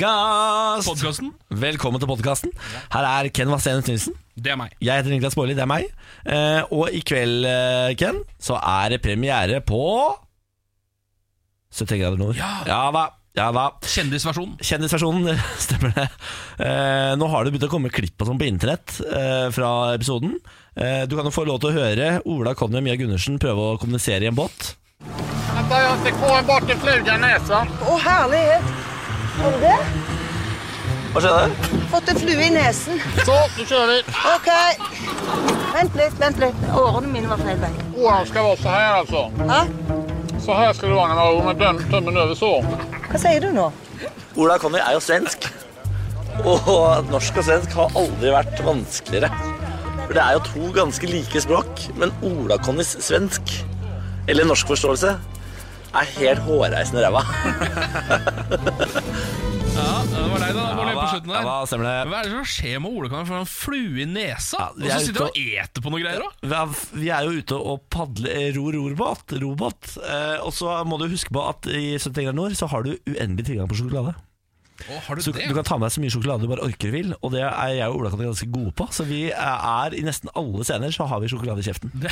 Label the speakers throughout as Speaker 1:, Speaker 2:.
Speaker 1: Podkast!
Speaker 2: Podkasten,
Speaker 1: Velkommen til podkasten. Her er Ken Vasenus Nilsen.
Speaker 2: det er meg.
Speaker 1: Jeg heter Niklas Baarli, det er meg. Eh, og i kveld, eh, Ken, så er det premiere på 70 grader nord.
Speaker 2: Ja.
Speaker 1: da. Ja da.
Speaker 2: Kjendisversjonen.
Speaker 1: Kjendisversjonen, stemmer det. Eh, nå har det begynt å komme klipp og sånn på internett eh, fra episoden. Eh, du kan jo få lov til å høre Ola Conny og Mia Gundersen prøve å kommunisere i en båt.
Speaker 3: Vänta, jag fick på en bortre fluga i näsan.
Speaker 4: Å, herlighet! Har du det?
Speaker 1: Hva skjedde?
Speaker 4: Fått en flue i nesen.
Speaker 3: Så, nu kör vi.
Speaker 4: OK. Vent litt, vent litt. Årene mine var feil vei.
Speaker 3: Oran ska vara så här alltså.
Speaker 4: Hæ?
Speaker 3: Så här ska det vara när man har med döm- tummen över så.
Speaker 4: Hva sier du nå?
Speaker 1: Ola Conny er jo svensk. Og norsk og svensk har aldri vært vanskeligere. For det er jo to ganske like språk, men Ola Connys svensk, eller norsk forståelse, er helt hårreisende ræva.
Speaker 2: Ja, det var deg, da. Bård, helt på slutten der.
Speaker 1: hva stemmer det?
Speaker 2: Hva er det som skjer med Ole? Kan han få en flue i nesa?
Speaker 1: vi
Speaker 2: og
Speaker 1: er ute
Speaker 2: så sitter han
Speaker 1: og-
Speaker 2: og eter på noe greier òg.
Speaker 1: Vi er, vi er jo ute og padler eh, ror rorbåt, robåt. Eh, og så må du huske på at i 70 grader nord så har du uendelig tilgang på sjokolade.
Speaker 2: Har du
Speaker 1: Så
Speaker 2: det?
Speaker 1: Du kan ta med deg så mye sjokolade du bare orker vil, og det er jeg og Ola Conny ganske gode på. Så vi eh, er i nesten alle scener så har vi sjokolade i kjeften.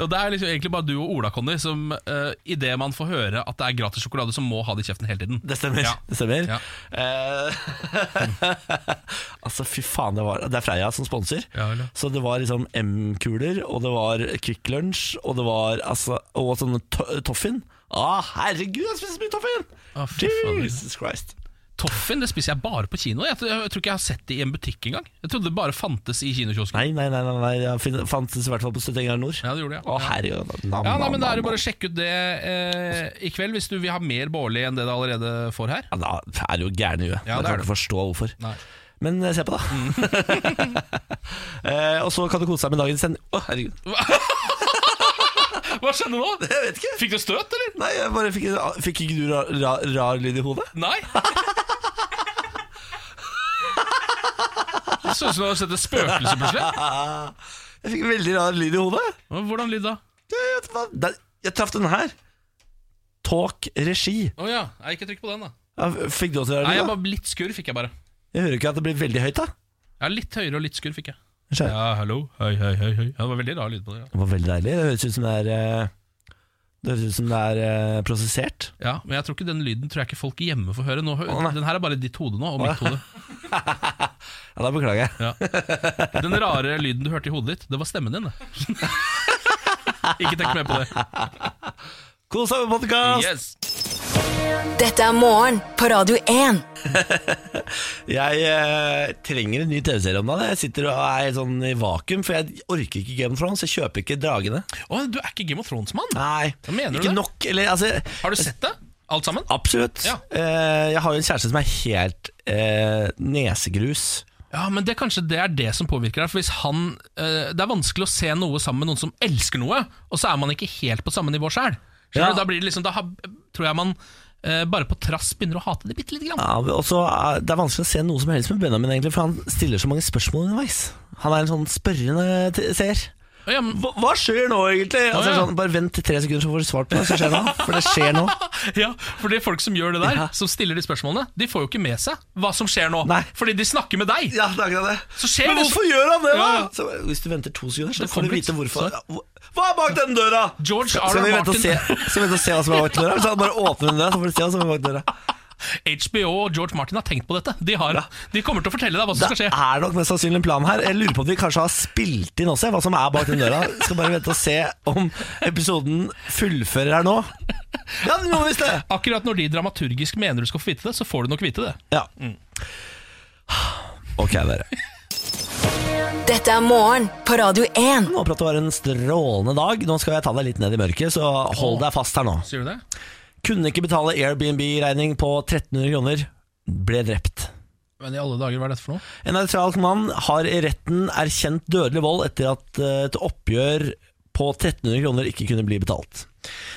Speaker 2: Og det er liksom egentlig bare du og Ola Conny som uh, idet man får høre at det er gratis sjokolade, så må ha det i kjeften hele tiden.
Speaker 1: Det stemmer.
Speaker 2: Ja.
Speaker 1: Det stemmer.
Speaker 2: Ja.
Speaker 1: Eh, altså, fy faen, det var Det er Freia som sponser.
Speaker 2: Ja, eller?
Speaker 1: så det var liksom M-kuler, og det var Kvikk Lunsj, og det var altså, Og sånn to Toffin. Å, herregud, jeg spiser så mye Toffin!
Speaker 2: Å, fy faen.
Speaker 1: Jesus Christ.
Speaker 2: Toffin det spiser jeg bare på kino. Jeg, tror- jeg tror ikke jeg har sett det i en butikk engang. Jeg trodde det bare fantes i kinokiosken.
Speaker 1: Nei, nei, nei, nei, nei jeg fin- fantes i hvert fall på 70 grader nord.
Speaker 2: Ja, det gjorde jeg.
Speaker 1: Å, herregud. Nam,
Speaker 2: Ja, nei,
Speaker 1: nam,
Speaker 2: men Da er det
Speaker 1: nam,
Speaker 2: bare å sjekke ut det eh, i kveld, hvis du vil ha mer Bårli enn det du allerede får her.
Speaker 1: nam. Ja, Da er det jo gæren i huet. jeg
Speaker 2: Ja, det er
Speaker 1: kan
Speaker 2: det.
Speaker 1: ikke forstå hvorfor.
Speaker 2: Nei. Mm.
Speaker 1: Men eh, se på, da. eh, og så kan du kose deg med dagens sending. Å, herregud.
Speaker 2: Hva skjedde nå?
Speaker 1: Jeg vet ikke.
Speaker 2: Fikk du støt, eller?
Speaker 1: Nei, jeg bare fikk, fikk ikke du rar, rar, rar lyd i hodet?
Speaker 2: Nei. Det så ut som du hadde sett et spøkelse plutselig.
Speaker 1: Jeg fikk veldig rar lyd i hodet.
Speaker 2: Hvordan lyd da?
Speaker 1: Jeg, vet hva- der, jeg traff den her. Talk regi.
Speaker 2: Å ja. Nei, ikke trykk på den, da.
Speaker 1: Ja, Fikk du også rar
Speaker 2: Nei,
Speaker 1: lyd? da?
Speaker 2: jeg bare Litt skurr fikk jeg bare.
Speaker 1: Jeg hører ikke at det blir veldig høyt, da.
Speaker 2: Ja, Litt høyere og litt skurr fikk jeg.
Speaker 1: Skjønner.
Speaker 2: Ja, hallo. Hei, hei, hei. hei. Ja, det var veldig rar lyd på det. Ja.
Speaker 1: Det var veldig deilig. Det høres ut som det er eh, Det høres ut som det er eh, prosessert.
Speaker 2: ja, Men jeg tror ikke den lyden tror jeg ikke folk hjemme får høre. Nå, hø-
Speaker 1: Å, nei.
Speaker 2: den her er bare ditt hode nå, og mitt hode.
Speaker 1: Ja, Da beklager jeg.
Speaker 2: Ja. Den rare lyden du hørte i hodet ditt, det var stemmen din. det. ikke tenk mer på det.
Speaker 1: Kos deg med podkast!
Speaker 2: Yes.
Speaker 5: Dette er morgen på Radio 1.
Speaker 1: Jeg eh, trenger en ny TV-serie om dagen. Jeg sitter og er helt sånn i vakuum, for jeg orker ikke Game of Thrones. Jeg kjøper ikke Dragene.
Speaker 2: Å, du er ikke Game of Thrones-mann?
Speaker 1: Nei,
Speaker 2: Hva mener du
Speaker 1: ikke
Speaker 2: det?
Speaker 1: nok. Eller altså
Speaker 2: Har du sett det? Alt sammen?
Speaker 1: Absolutt.
Speaker 2: Ja.
Speaker 1: Eh, jeg har jo en kjæreste som er helt eh, nesegrus.
Speaker 2: Ja, men det, kanskje det er det som påvirker deg. For hvis han, eh, Det er vanskelig å se noe sammen med noen som elsker noe, og så er man ikke helt på samme nivå sjøl.
Speaker 1: Ja.
Speaker 2: Da, blir det liksom, da har- tror jeg man eh, bare på trass begynner å hate det bitte lite grann.
Speaker 1: Ja, og så er Det er vanskelig å se noe som helst med Benjamin, egentlig, for han stiller så mange spørsmål underveis. Han er en sånn spørrende t- seer.
Speaker 2: Å, Ja, men,
Speaker 1: Hva, hva skjer nå, egentlig? Altså,
Speaker 2: ja.
Speaker 1: sånn, bare vent i tre sekunder, så får du svar på det. Så skjer det nå, for det skjer nå.
Speaker 2: ja, for det er folk som gjør det der, som stiller de spørsmålene, de får jo ikke med seg hva som skjer nå.
Speaker 1: Nei.
Speaker 2: Fordi de snakker med deg.
Speaker 1: Ja, det er akkurat det.
Speaker 2: Så skjer
Speaker 1: Men
Speaker 2: det-
Speaker 1: hvorfor gjør han det, da?
Speaker 2: Ja, ja.
Speaker 1: Så, hvis du venter to sekunder, så
Speaker 2: Det
Speaker 1: får du
Speaker 2: kommer
Speaker 1: vite
Speaker 2: et-
Speaker 1: hvorfor.
Speaker 2: så-
Speaker 1: Ja, hvor- Hva er bak den døra?
Speaker 2: George
Speaker 1: Skal-
Speaker 2: R.
Speaker 1: skal vi vente og
Speaker 2: Martin.
Speaker 1: se- Skal vi vente og se hva som er bak døra? Så han bare åpner den døra, så får du se hva som er bak døra.
Speaker 2: HBO og George Martin har tenkt på dette. De, har, de kommer til å fortelle deg hva som
Speaker 1: Det
Speaker 2: skal skje.
Speaker 1: er nok mest sannsynlig en plan her. Jeg lurer på om vi kanskje har spilt inn også, hva som er bak den døra. Skal bare vente og se om episoden fullfører her nå. Ja, det må visst det!
Speaker 2: Akkurat når de dramaturgisk mener du skal få vite det, så får du nok vite det.
Speaker 1: Ja. Ok, dere.
Speaker 5: Dette er morgen på Radio 1.
Speaker 1: Håper at det var en strålende dag. Nå skal jeg ta deg litt ned i mørket, så hold deg fast her nå.
Speaker 2: Sier du det?
Speaker 1: Kunne ikke betale Airbnb-regning på 1300 kroner. Ble drept.
Speaker 2: Men i alle dager, hva er dette for noe?
Speaker 1: En nøytral mann har i retten erkjent dødelig vold etter at eh, et oppgjør på 1300 kroner ikke kunne bli betalt.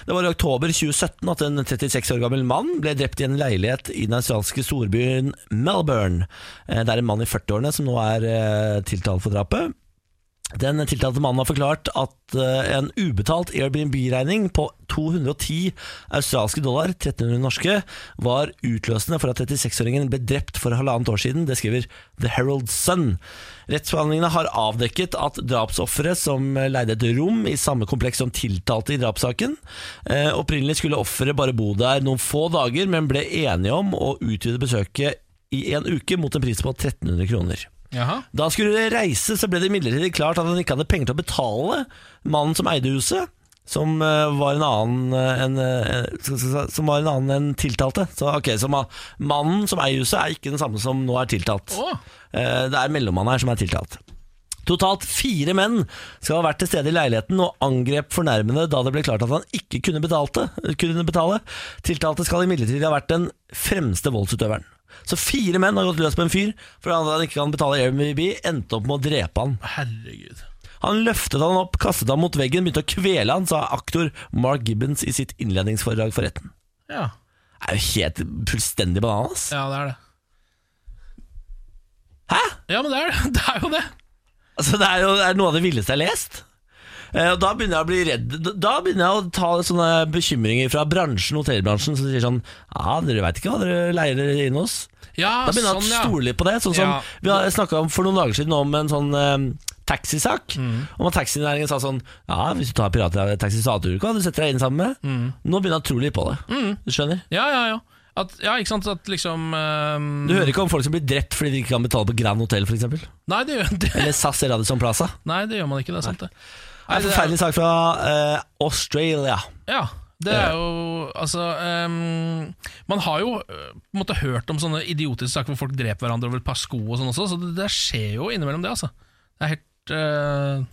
Speaker 1: Det var i oktober 2017 at en 36 år gammel mann ble drept i en leilighet i den australske storbyen Melbourne. Eh, Det er en mann i 40-årene som nå er eh, tiltalt for drapet. Den tiltalte mannen har forklart at eh, en ubetalt Airbnb-regning på 210 australske dollar, 1300 norske, var utløsende for at 36-åringen ble drept for halvannet år siden. Det skriver The Herald Sun. Rettsforhandlingene har avdekket at drapsofferet som leide et rom i samme kompleks som tiltalte i drapssaken, eh, opprinnelig skulle offeret bare bo der noen få dager, men ble enige om å utvide besøket i en uke mot en pris på 1300 kroner.
Speaker 2: Jaha.
Speaker 1: Da han skulle reise, så ble det imidlertid klart at han ikke hadde penger til å betale mannen som eide huset, som eh, var en annen eh, enn eh, s- s- Som var en annen enn tiltalte. Så ok, så ma- mannen som eier huset, er ikke den samme som nå er tiltalt.
Speaker 2: Å.
Speaker 1: Eh, Det er mellommannen her som er tiltalt. Totalt fire menn skal ha vært til stede i leiligheten og angrep fornærmede da det ble klart at han ikke kunne, betalte, kunne betale. Tiltalte skal imidlertid ha vært den fremste voldsutøveren. Så fire menn har gått løs på en fyr fordi han ikke kan betale Airbnb, endte opp med å drepe han.
Speaker 2: Herregud.
Speaker 1: Han løftet han opp, kastet han mot veggen, begynte å kvele han, sa aktor Mark Gibbons i sitt innledningsforedrag for retten.
Speaker 2: Ja.
Speaker 1: Det er jo helt fullstendig bananas.
Speaker 2: ja, det er det.
Speaker 1: Hæ?
Speaker 2: Ja, men det er, det er jo det.
Speaker 1: Altså, det er jo det er noe av det villeste jeg har lest. Eh, og da begynner jeg å bli redd. Da- Da begynner jeg å ta sånne bekymringer fra bransjen, hotellbransjen som sier sånn Ja, dere veit ikke hva dere leier dere inn hos?
Speaker 2: Ja,
Speaker 1: Da begynner jeg
Speaker 2: sånn,
Speaker 1: å stole litt på det. Sånn som
Speaker 2: Ja.
Speaker 1: Vi har snakka om for noen dager siden om en sånn eh, taxisak.
Speaker 2: Mm.
Speaker 1: Om at taxinæringen sa sånn Ja, hvis du tar pirattaxi, så aner du ikke hva du setter deg inn sammen med.
Speaker 2: Mm.
Speaker 1: Nå begynner jeg å tro litt på det. Du skjønner?
Speaker 2: Ja, ja, ja. At, ja, ikke sant? At liksom ehm,
Speaker 1: Du hører ikke om folk som blir drept fordi de ikke kan betale på Grand Hotel, f.eks.
Speaker 2: Nei, det gjør, det,
Speaker 1: Eller SAS Radisson Plaza.
Speaker 2: nei, det gjør man ikke. Det er sant,
Speaker 1: Det
Speaker 2: det.
Speaker 1: er en
Speaker 2: Nei, det
Speaker 1: forferdelig sak fra eh, Australia.
Speaker 2: er- Ja, det er jo Altså, ehm, man har jo eh, på en måte hørt om sånne idiotiske saker hvor folk dreper hverandre over et par sko og sånn også, så det, det skjer jo innimellom det, altså. Det er helt eh,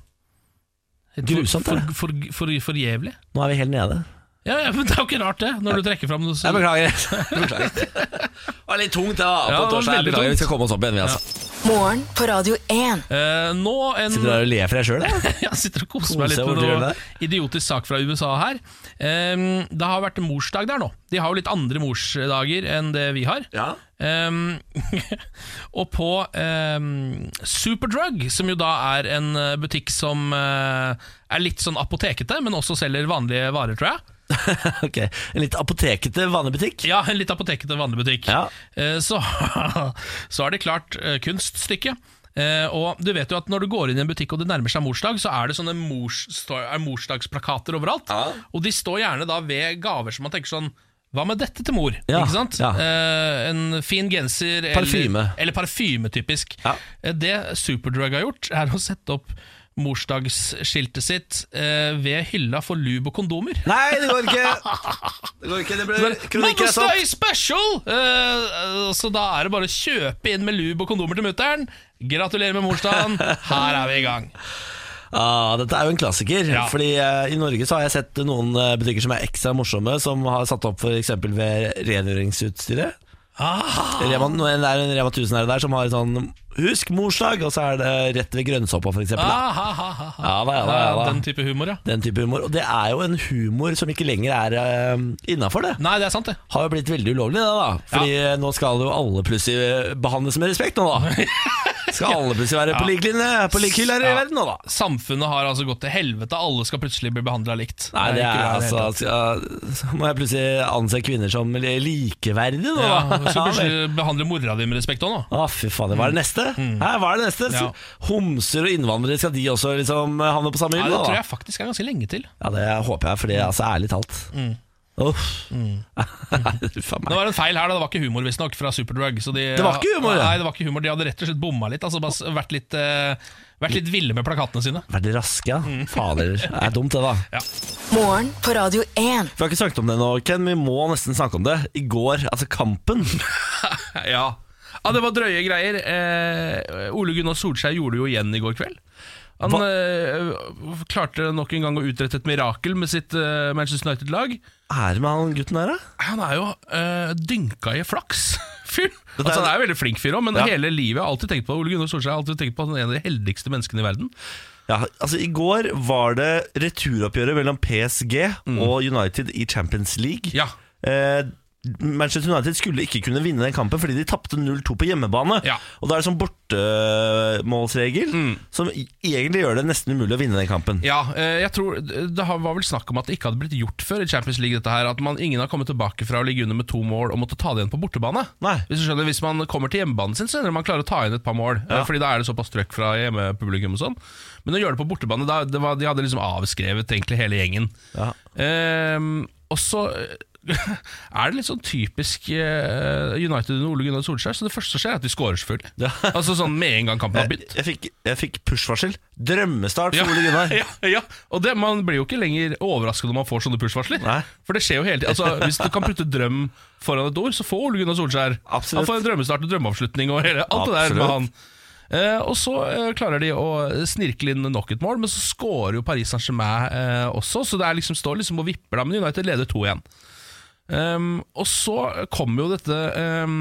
Speaker 2: helt
Speaker 1: Grusomt,
Speaker 2: for,
Speaker 1: er det?
Speaker 2: for, for, for, for jævlig.
Speaker 1: Nå er vi helt nede.
Speaker 2: Ja, ja, men det er jo ikke rart, det, når du trekker fram noe så-
Speaker 1: Jeg beklager. beklager. det var litt tungt, da.
Speaker 2: Ja,
Speaker 1: På
Speaker 2: det var
Speaker 1: torsdag. Jeg
Speaker 2: veldig
Speaker 1: beklager,
Speaker 2: tungt.
Speaker 1: vi skal komme oss opp igjen, vi, altså.
Speaker 5: Morgen på Radio 1.
Speaker 2: Eh, Nå en
Speaker 1: Sitter du der og ler for deg sjøl, da?
Speaker 2: Jeg sitter og koser
Speaker 1: Kose
Speaker 2: meg litt
Speaker 1: over
Speaker 2: med
Speaker 1: til
Speaker 2: noe
Speaker 1: julen
Speaker 2: idiotisk sak fra USA her. Ehm, det har vært morsdag der nå. De har jo litt andre morsdager enn det vi har.
Speaker 1: Ja.
Speaker 2: Ehm, og på ehm, Superdrug, som jo da er en eh, butikk som eh, er litt sånn apotekete, men også selger vanlige varer, tror jeg.
Speaker 1: Ok. En litt apotekete vanebutikk.
Speaker 2: Ja, en litt apotekete vanlig butikk.
Speaker 1: Ja.
Speaker 2: Eh, Så, så har de klart eh, kunststykket. Eh, og du vet jo at Når du går inn i en butikk og det nærmer seg morsdag, så er det sånne mors, sto- er morsdagsplakater overalt.
Speaker 1: Ja.
Speaker 2: Og de står gjerne da ved gaver som man tenker sånn Hva med dette til mor?
Speaker 1: Ja,
Speaker 2: Ikke sant?
Speaker 1: ja.
Speaker 2: Eh, en fin genser eller-
Speaker 1: Parfyme.
Speaker 2: Eller, parfyme, typisk.
Speaker 1: Ja.
Speaker 2: Eh, det Superdrug har gjort, er å sette opp morsdagsskiltet sitt eh, ved hylla for lube og kondomer.
Speaker 1: Nei, det går ikke! Det går ikke, det blir kronikker altså. er sant.
Speaker 2: Motherstay special! Eh, eh, så da er det bare å kjøpe inn med lube og kondomer til mutter'n. Gratulerer med morsdagen, her er vi i gang.
Speaker 1: Ah, dette er jo en klassiker.
Speaker 2: Ja.
Speaker 1: Fordi eh, I Norge så har jeg sett noen eh, butikker som er ekstra morsomme, som har satt opp f.eks. ved rengjøringsutstyret. Rema, det er en Rema 1000 her og der som har sånn 'Husk morsdag!' Og så er det rett ved grønnsåpa, f.eks. Ja,
Speaker 2: Ah, ha, ha, ha, ha.
Speaker 1: da, ja, da, ja,
Speaker 2: Eh,
Speaker 1: da.
Speaker 2: Den type humor, ja.
Speaker 1: Den type humor. Og det er jo en humor som ikke lenger er uh, innafor, det.
Speaker 2: Nei, det er sant, det.
Speaker 1: Har jo blitt veldig ulovlig, det da. Fordi eh, nå skal jo alle plutselig eh, behandles med respekt, nå da. Skal alle plutselig være på lik linje, på lik hylle her i
Speaker 2: Ja.
Speaker 1: verden nå da.
Speaker 2: Samfunnet har altså gått til helvete, alle skal plutselig bli behandla likt.
Speaker 1: Nei, det
Speaker 2: ikke
Speaker 1: er
Speaker 2: bra i det
Speaker 1: altså
Speaker 2: hele tatt.
Speaker 1: ja, Så må jeg plutselig anse kvinner som li- likeverdige nå,
Speaker 2: ja,
Speaker 1: da.
Speaker 2: og Så
Speaker 1: Ja, vel.
Speaker 2: plutselig behandler mora di med respekt òg, nå.
Speaker 1: Å, fy faen. Hva er det neste? Hæ, hva er det neste?
Speaker 2: Ja.
Speaker 1: Homser og innvandrere, skal de også liksom havne på samme
Speaker 2: Nei,
Speaker 1: hylle? da,
Speaker 2: det
Speaker 1: da?
Speaker 2: tror jeg Mm. faktisk er ganske lenge til.
Speaker 1: Ja, det håper jeg, fordi altså, ærlig talt
Speaker 2: Mm.
Speaker 1: Uff. Uff a meg.
Speaker 2: Det var en feil her, da. det var ikke humor visstnok fra Superdrug. Så de,
Speaker 1: Det var ikke humor, ja.
Speaker 2: Nei, det var ikke humor, De hadde rett og slett bomma litt. Altså bare s- vært litt, eh, vært litt ville med plakatene sine.
Speaker 1: Vært raske, ja. Fader, det er dumt det, da.
Speaker 5: Morgen på Radio 1.
Speaker 1: Vi har ikke snakket om det nå, Ken. Vi må nesten snakke om det. I går, altså Kampen.
Speaker 2: Ja. ja, det var drøye greier. Eh, Ole Gunnar Solskjær gjorde det jo igjen i går kveld. Han
Speaker 1: Hva-
Speaker 2: eh, klarte nok en gang å utrette et mirakel med sitt eh, Manchester United-lag.
Speaker 1: Er det med han gutten der, da?
Speaker 2: Han er jo eh, dynka i flaks. Fyr.
Speaker 1: Dette er-
Speaker 2: Altså, han er jo veldig flink fyr òg, men
Speaker 1: Ja.
Speaker 2: hele livet har jeg alltid tenkt på Ole Gunnar Solskjær har alltid tenkt på at han er en av de heldigste menneskene i verden.
Speaker 1: Ja, altså I går var det Mm. returoppgjøret mellom PSG og United i Champions League.
Speaker 2: Ja
Speaker 1: Eh, Manchester United skulle ikke kunne vinne den kampen fordi de tapte 0-2 på hjemmebane.
Speaker 2: Ja.
Speaker 1: Og da er det sånn bortemålsregel som i- egentlig gjør det nesten umulig å vinne den kampen.
Speaker 2: Ja, eh, jeg tror Det har- var vel snakk om at det ikke hadde blitt gjort før i Champions League. dette her At man, ingen har kommet tilbake fra å ligge under med to mål og måtte ta det igjen på bortebane.
Speaker 1: Nei.
Speaker 2: Hvis du skjønner, hvis man kommer til hjemmebanen sin, så ender man klarer å ta igjen et par mål. eh, Fordi da er det såpass trøkk fra hjemmepublikum og sånn. Men å gjøre det på bortebane da, det var, De hadde liksom avskrevet egentlig hele gjengen.
Speaker 1: Ja.
Speaker 2: Ehm, og så eh, er det litt sånn typisk eh, United under Ole Gunnar Solskjær. Så det første som skjer, er at vi scorer, selvfølgelig.
Speaker 1: Ja.
Speaker 2: altså sånn med en gang kampen har
Speaker 1: Jeg,
Speaker 2: begynt.
Speaker 1: jeg fikk, jeg fikk push-varsel. Drømmestart for Ole Gunnar.
Speaker 2: Ja, ja. Og det, man blir jo ikke lenger overrasket når man får sånne push-varsler.
Speaker 1: Nei.
Speaker 2: For det skjer jo hele tiden. Altså, hvis du kan putte drøm foran et ord, så får Ole Gunnar Solskjær
Speaker 1: Absolutt.
Speaker 2: Han får en drømmestart og drømmeavslutning og hele, alt det der med
Speaker 1: Absolutt.
Speaker 2: han. Eh, og så eh, klarer de å snirkle inn nok et mål, men så scorer jo Paris Saint-Germain eh, også, så det er liksom, står liksom og vipper da, men United leder 2-1. Um, og så kommer jo dette um,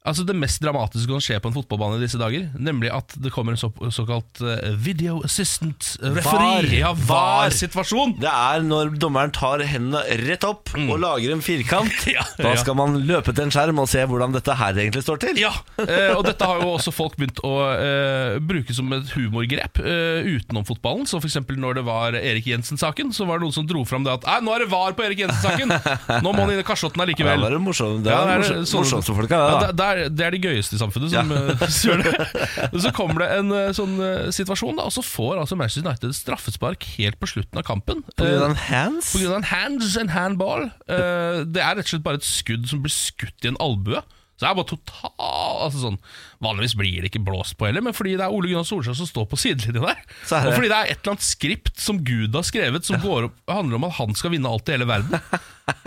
Speaker 2: Altså Det mest dramatiske som kan skje på en fotballbane i disse dager, nemlig at det kommer en så, såkalt eh, video assistant referee.
Speaker 1: VAR.
Speaker 2: Ja,
Speaker 1: VAR.
Speaker 2: var-situasjon!
Speaker 1: Det er når dommeren tar hendene rett opp og lager en firkant.
Speaker 2: Mm. Ja,
Speaker 1: da
Speaker 2: ja.
Speaker 1: skal man løpe til en skjerm og se hvordan dette her egentlig står til.
Speaker 2: Ja, eh, og dette har jo også folk begynt å eh, bruke som et humorgrep eh, utenom fotballen. Så for eksempel når det var Erik Jensen-saken, så var det noen som dro fram det at Nei, nå er det var på Erik Jensen-saken! Nå må han inn i
Speaker 1: Ja,
Speaker 2: kasjotten allikevel.
Speaker 1: det er det morsomt. Det
Speaker 2: Ja,
Speaker 1: er
Speaker 2: det er
Speaker 1: morsomt,
Speaker 2: sånn-
Speaker 1: morsomste folka,
Speaker 2: Ja,
Speaker 1: det, da.
Speaker 2: det, det, er, det er de gøyeste i samfunnet som eh, som gjør det. Og Så kommer det en eh, sånn eh, situasjon, da, og så får altså Manchester United straffespark helt på slutten av kampen.
Speaker 1: På grunn av
Speaker 2: Eh,
Speaker 1: en hands?
Speaker 2: På grunn av en hands and handball. Eh, Det er rett og slett bare et skudd som blir skutt i en albue. Så det er bare total altså sånn, Vanligvis blir det ikke blåst på heller, men fordi det er Ole Gunnar Solskjær som står på sidelinja der,
Speaker 1: Så er det-
Speaker 2: og fordi det er et eller annet skript som Gud har skrevet, som går opp, handler om at han skal vinne alt i hele verden,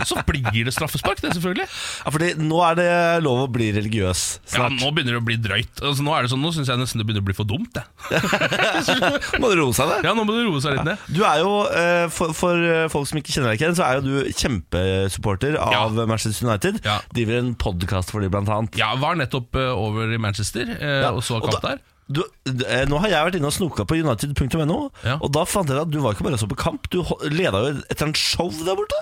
Speaker 2: så blir det straffespark, det, selvfølgelig.
Speaker 1: Ja, fordi nå er det lov å bli religiøs
Speaker 2: Ja,
Speaker 1: snart.
Speaker 2: nå begynner det å bli drøyt. Altså, nå er det sånn, nå syns jeg nesten det begynner å bli for dumt. Jeg.
Speaker 1: nå må du roe seg ned.
Speaker 2: Ja, Nå må det roe seg litt ned.
Speaker 1: Du er jo, eh, for, for eh, folk som ikke kjenner deg igjen, så er jo du kjempesupporter av Manchester United.
Speaker 2: Ja.
Speaker 1: Driver en podkast for dem, blant annet.
Speaker 2: Ja, Var nettopp eh, over i Manchester eh,
Speaker 1: Ja,
Speaker 2: og så
Speaker 1: og
Speaker 2: kamp
Speaker 1: da-
Speaker 2: der.
Speaker 1: Du, d- eh, nå har jeg vært inne og snoka på united.no,
Speaker 2: Ja.
Speaker 1: og da fant jeg at du var ikke bare så på kamp, du ho- leda jo etter en show der borte.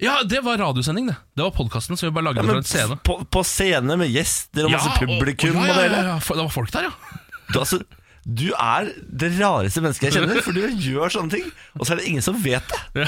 Speaker 2: Ja, det var radiosending, det. Det var podkasten som vi bare lagde fra
Speaker 1: Men
Speaker 2: et scene.
Speaker 1: på, på scene med gjester og masse
Speaker 2: og-
Speaker 1: publikum
Speaker 2: og,
Speaker 1: og
Speaker 2: ja,
Speaker 1: det
Speaker 2: ja,
Speaker 1: hele.
Speaker 2: ja, ja, for- Det var folk der, ja.
Speaker 1: Du, altså, du er det rareste mennesket jeg kjenner, for du gjør sånne ting, og så er det ingen som vet det.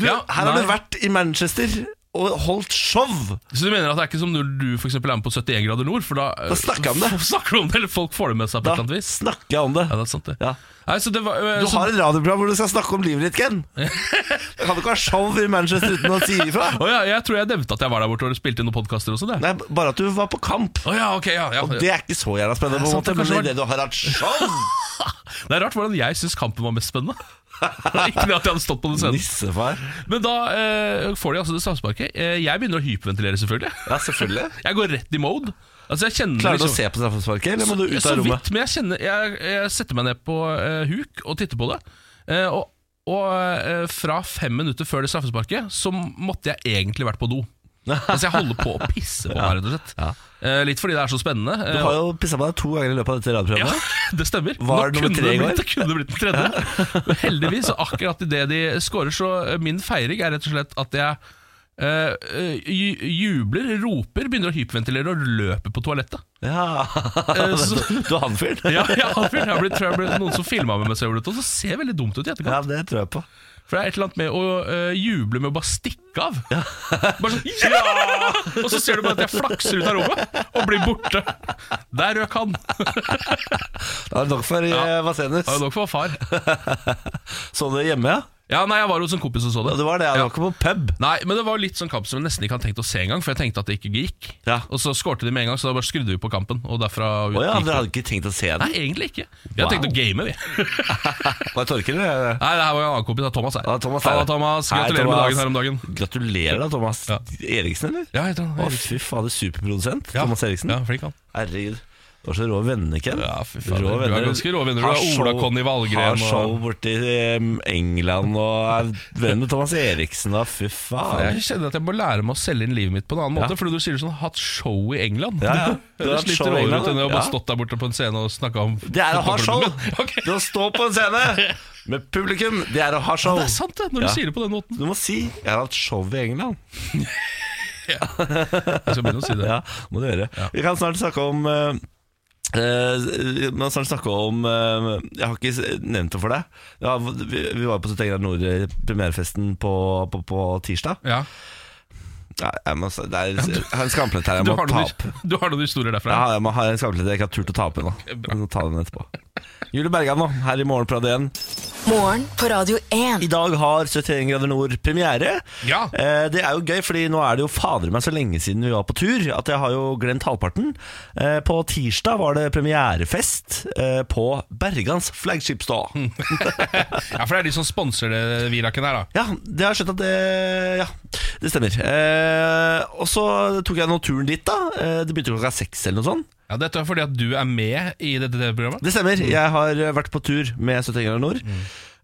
Speaker 1: Du,
Speaker 2: Ja,
Speaker 1: her har
Speaker 2: nei.
Speaker 1: du vært i Manchester og holdt show!
Speaker 2: Så du mener at det er ikke som når du for eksempel er med på 71 grader nord? For da, eh,
Speaker 1: Da snakker jeg om det.
Speaker 2: f- Snakker du om det, Eller folk får det med seg på
Speaker 1: Da
Speaker 2: et eller annet vis?
Speaker 1: snakker jeg om det.
Speaker 2: Ja, det er sant, det.
Speaker 1: Ja.
Speaker 2: Nei, så det var, eh,
Speaker 1: Du
Speaker 2: så,
Speaker 1: har et radioprogram hvor du skal snakke om livet ditt, Ken. Du kan du ikke ha show i Manchester uten å si ifra.
Speaker 2: Å ja, jeg tror jeg nevnte at jeg var der borte og spilte inn noen podkaster også. Det.
Speaker 1: Nei, bare at du var på kamp.
Speaker 2: Å ja, ok, ja, ja.
Speaker 1: Det er ikke så jævla spennende,
Speaker 2: Det
Speaker 1: på
Speaker 2: er
Speaker 1: en
Speaker 2: sant,
Speaker 1: måte,
Speaker 2: det
Speaker 1: men
Speaker 2: kanskje
Speaker 1: i det du har hatt show
Speaker 2: Det er rart hvordan jeg syns kampen var mest spennende. ikke det at jeg hadde stått på den scenen.
Speaker 1: Nissefar.
Speaker 2: Men da eh, får de altså det straffesparket. Eh, jeg begynner å hyperventilere, selvfølgelig.
Speaker 1: Ja, selvfølgelig.
Speaker 2: Jeg går rett i mode. Altså jeg kjenner
Speaker 1: Klarer du å
Speaker 2: liksom-
Speaker 1: se på straffesparket, eller må du ut
Speaker 2: så
Speaker 1: av rommet?
Speaker 2: vidt, men jeg, kjenner, jeg, jeg setter meg ned på eh, huk og titter på det. Eh, og og eh, fra fem minutter før det straffesparket så måtte jeg egentlig vært på do. Altså Jeg holder på å pisse på meg, rett og slett. Eh, litt fordi det er så spennende.
Speaker 1: Du
Speaker 2: eh,
Speaker 1: har jo pissa på deg to ganger i løpet av dette
Speaker 2: ja,
Speaker 1: radioprogrammet.
Speaker 2: det stemmer.
Speaker 1: Var
Speaker 2: Nå
Speaker 1: nummer
Speaker 2: kunne
Speaker 1: tre i
Speaker 2: det
Speaker 1: går?
Speaker 2: blitt- Det kunne blitt den tredje. Men heldigvis, og akkurat idet de scorer, så eh, min feiring er rett og slett at jeg eh, eh, ju- jubler, roper, begynner å hyperventilere og løper på toalettet.
Speaker 1: Ja,
Speaker 2: Eh, så-
Speaker 1: Du er han fyren?
Speaker 2: Ja, jeg har blitt, jeg har blitt, tror jeg ble noen som filma meg mens jeg gjorde dette, og så ser det veldig dumt ut
Speaker 1: Ja,
Speaker 2: i etterkant.
Speaker 1: det tror jeg på.
Speaker 2: For det er et eller annet med å øh, juble med å bare stikke av. Bare sånn ja! Og så ser du bare at jeg flakser ut av rommet og blir borte. Der røk han. Det
Speaker 1: Da er det nok for eh, ja. Vasenus.
Speaker 2: var nok for far.
Speaker 1: Så du det hjemme, ja?
Speaker 2: Ja, nei, jeg var hos en kompis og så det.
Speaker 1: Ja, det var det. Jeg
Speaker 2: Ja.
Speaker 1: var ikke på pub.
Speaker 2: Nei, men det var litt sånn kamp som jeg nesten ikke hadde tenkt å se engang, for jeg tenkte at det ikke gikk.
Speaker 1: Ja.
Speaker 2: Og så skårte de med en gang, så da bare skrudde vi på kampen. Og derfra
Speaker 1: Å ja,
Speaker 2: gikk
Speaker 1: dere
Speaker 2: det.
Speaker 1: hadde ikke tenkt å se den?
Speaker 2: Nei, egentlig ikke. Vi hadde
Speaker 1: Wow.
Speaker 2: tenkt å game, vi.
Speaker 1: Var det Torkel, eller?
Speaker 2: Nei, det her var jo en annen kompis. Det er Thomas her.
Speaker 1: Ja, Thomas her.
Speaker 2: Halla, Thomas.
Speaker 1: Hei,
Speaker 2: Gratulerer med
Speaker 1: Thomas.
Speaker 2: dagen her om dagen.
Speaker 1: Gratulerer da, Thomas
Speaker 2: Ja.
Speaker 1: Eriksen, eller?
Speaker 2: Ja, heter han
Speaker 1: Å, fy fader, superprodusent
Speaker 2: Ja.
Speaker 1: Thomas Eriksen.
Speaker 2: Ja, flink han.
Speaker 1: Herregud. Du har så rå venner, Ken.
Speaker 2: Ja, fy fader. Du har ganske rå venner. Du
Speaker 1: Har
Speaker 2: har Ola
Speaker 1: show-
Speaker 2: Conny Wahlgren
Speaker 1: Har
Speaker 2: og-
Speaker 1: show borti em, England og er venn med Thomas Eriksen, da. Fy faen.
Speaker 2: Jeg kjenner at jeg må lære meg å selge inn livet mitt på en annen måte. Fordi du sier sånn 'hatt show i England'.
Speaker 1: Ja, ja. Du har
Speaker 2: Det
Speaker 1: hatt
Speaker 2: sliter
Speaker 1: show i
Speaker 2: over
Speaker 1: England,
Speaker 2: ut enn å
Speaker 1: ja.
Speaker 2: bare stått der borte på en scene og snakka om
Speaker 1: Det er å ha show!
Speaker 2: fotballklubben min. Ok.
Speaker 1: Det å stå på en scene med publikum, det er å ha show.
Speaker 2: Det er sant, det, når
Speaker 1: Ja.
Speaker 2: du sier det på den måten.
Speaker 1: Du må si 'jeg har hatt show i England'.
Speaker 2: Ja. Jeg skal begynne å si det.
Speaker 1: Ja, må du gjøre. Vi kan snart snakke om eh, eh, Vi må snart snakke om eh, Jeg har ikke s- nevnt det for deg. Ja, vi, vi var på Tengra Nord-premierefesten på, på, på tirsdag.
Speaker 2: Ja.
Speaker 1: Nei, jeg, må, s- det er jeg har en skamplett her jeg
Speaker 2: Du,
Speaker 1: må
Speaker 2: har
Speaker 1: ta
Speaker 2: noen,
Speaker 1: opp.
Speaker 2: du har noen historier derfra?
Speaker 1: Ja, jeg må ha en skamplett jeg ikke har turt å ta opp ennå. Jeg må Ta den etterpå. Julie Bergan nå, her i Morgen på Radio 1.
Speaker 5: Morgen på Radio
Speaker 1: I
Speaker 5: 1.
Speaker 1: dag har 71 grader nord premiere.
Speaker 2: Ja.
Speaker 1: Eh, det er jo gøy, fordi nå er det jo fader meg så lenge siden vi var på tur at jeg har jo glemt halvparten. Eh, på tirsdag var det premierefest eh, på Bergans Flagship Store.
Speaker 2: Mm. Ja, for det er de som sponser det Viraken her, da.
Speaker 1: Ja, det har jeg skjønt at det Ja, det stemmer. Eh, og så tok jeg nå turen dit, da. Eh, det begynte klokka seks eller noe sånt.
Speaker 2: Ja, Dette er fordi at du er med i dette TV-programmet?
Speaker 1: Det stemmer. Jeg har eh, vært på tur med 71 grader nord.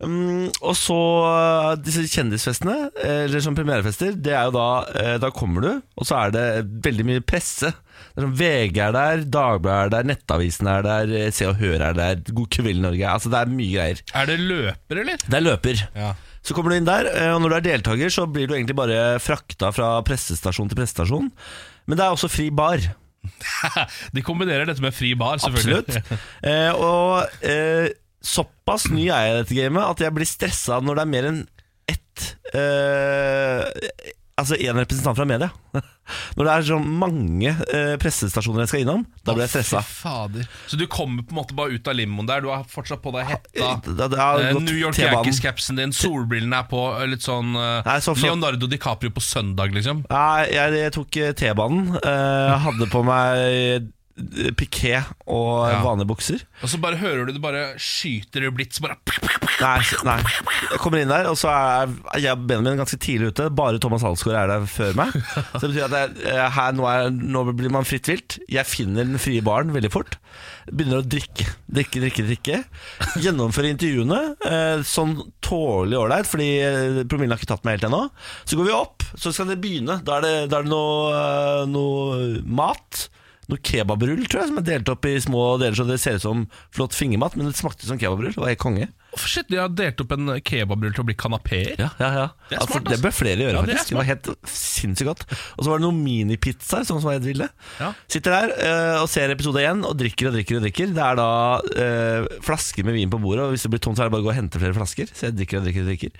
Speaker 1: Um, og så eh, disse kjendisfestene, eh, eller som premierefester, det er jo da eh, Da kommer du, og så er det veldig mye presse. Det er sånn, VG er der, Dagbladet er der, Nettavisen er der, eh, Se og Hør er der, God kveld Norge Altså Det er mye greier.
Speaker 2: Er det løper, eller?
Speaker 1: Det er løper.
Speaker 2: Ja.
Speaker 1: Så kommer du inn der, eh, og når du er deltaker, så blir du egentlig bare frakta fra pressestasjon til pressestasjon. Men det er også fri bar.
Speaker 2: De kombinerer dette med fri bar, selvfølgelig.
Speaker 1: Absolutt. Eh, og eh, såpass ny er jeg i dette gamet at jeg blir stressa når det er mer enn ett eh, Altså én representant fra media. Når det er så mange eh, pressestasjoner jeg skal innom, da blir jeg stressa.
Speaker 2: Å, fy Fader. Så du kommer på en måte bare ut av limoen der, du har fortsatt på deg hetta.
Speaker 1: Da- da har
Speaker 2: eh,
Speaker 1: jeg gått
Speaker 2: New York
Speaker 1: T-banen.
Speaker 2: Yankees-capsen din, solbrillene er på, eh, litt sånn eh,
Speaker 1: Nei, så flott.
Speaker 2: Leonardo DiCaprio på søndag, liksom.
Speaker 1: Nei, jeg, jeg tok eh, T-banen. Eh, jeg hadde på meg piké og
Speaker 2: Ja.
Speaker 1: vanlige bukser.
Speaker 2: Og så bare hører du det bare skyter i blits, bare
Speaker 1: Nei, nei. Jeg kommer inn der, og så er jeg og Benjamin ganske tidlig ute. Bare Thomas Halsgaard er der før meg. Så det betyr at jeg, eh, her, nå, er, nå blir man fritt vilt. Jeg finner den frie baren veldig fort. Begynner å drikke, drikke, drikke. drikke Gjennomføre intervjuene. eh, Sånn tålelig ålreit, fordi eh, promillen har ikke tatt meg helt ennå. Så går vi opp, så skal det begynne. Da er det, da er det noe, eh, noe mat. Noe kebabrull, tror jeg, som er delt opp i små deler, så det ser ut som flott fingermat, men det smakte som kebabrull. Det var helt konge.
Speaker 2: Å, Shit, de har delt opp en kebabrull til å bli kanapeer.
Speaker 1: Ja, ja, ja.
Speaker 2: Det
Speaker 1: Det,
Speaker 2: er
Speaker 1: altså,
Speaker 2: smart,
Speaker 1: det bør flere gjøre,
Speaker 2: Ja, det er
Speaker 1: faktisk. Det, var helt sinnssykt godt. Og så var det noen minipizzaer, sånn som var helt ville.
Speaker 2: Ja.
Speaker 1: Sitter der eh, og ser episode én og drikker og drikker og drikker. Det er da eh, flasker med vin på bordet, og hvis det blir tomt, så er det bare å gå og hente flere flasker. Så jeg drikker og drikker og drikker.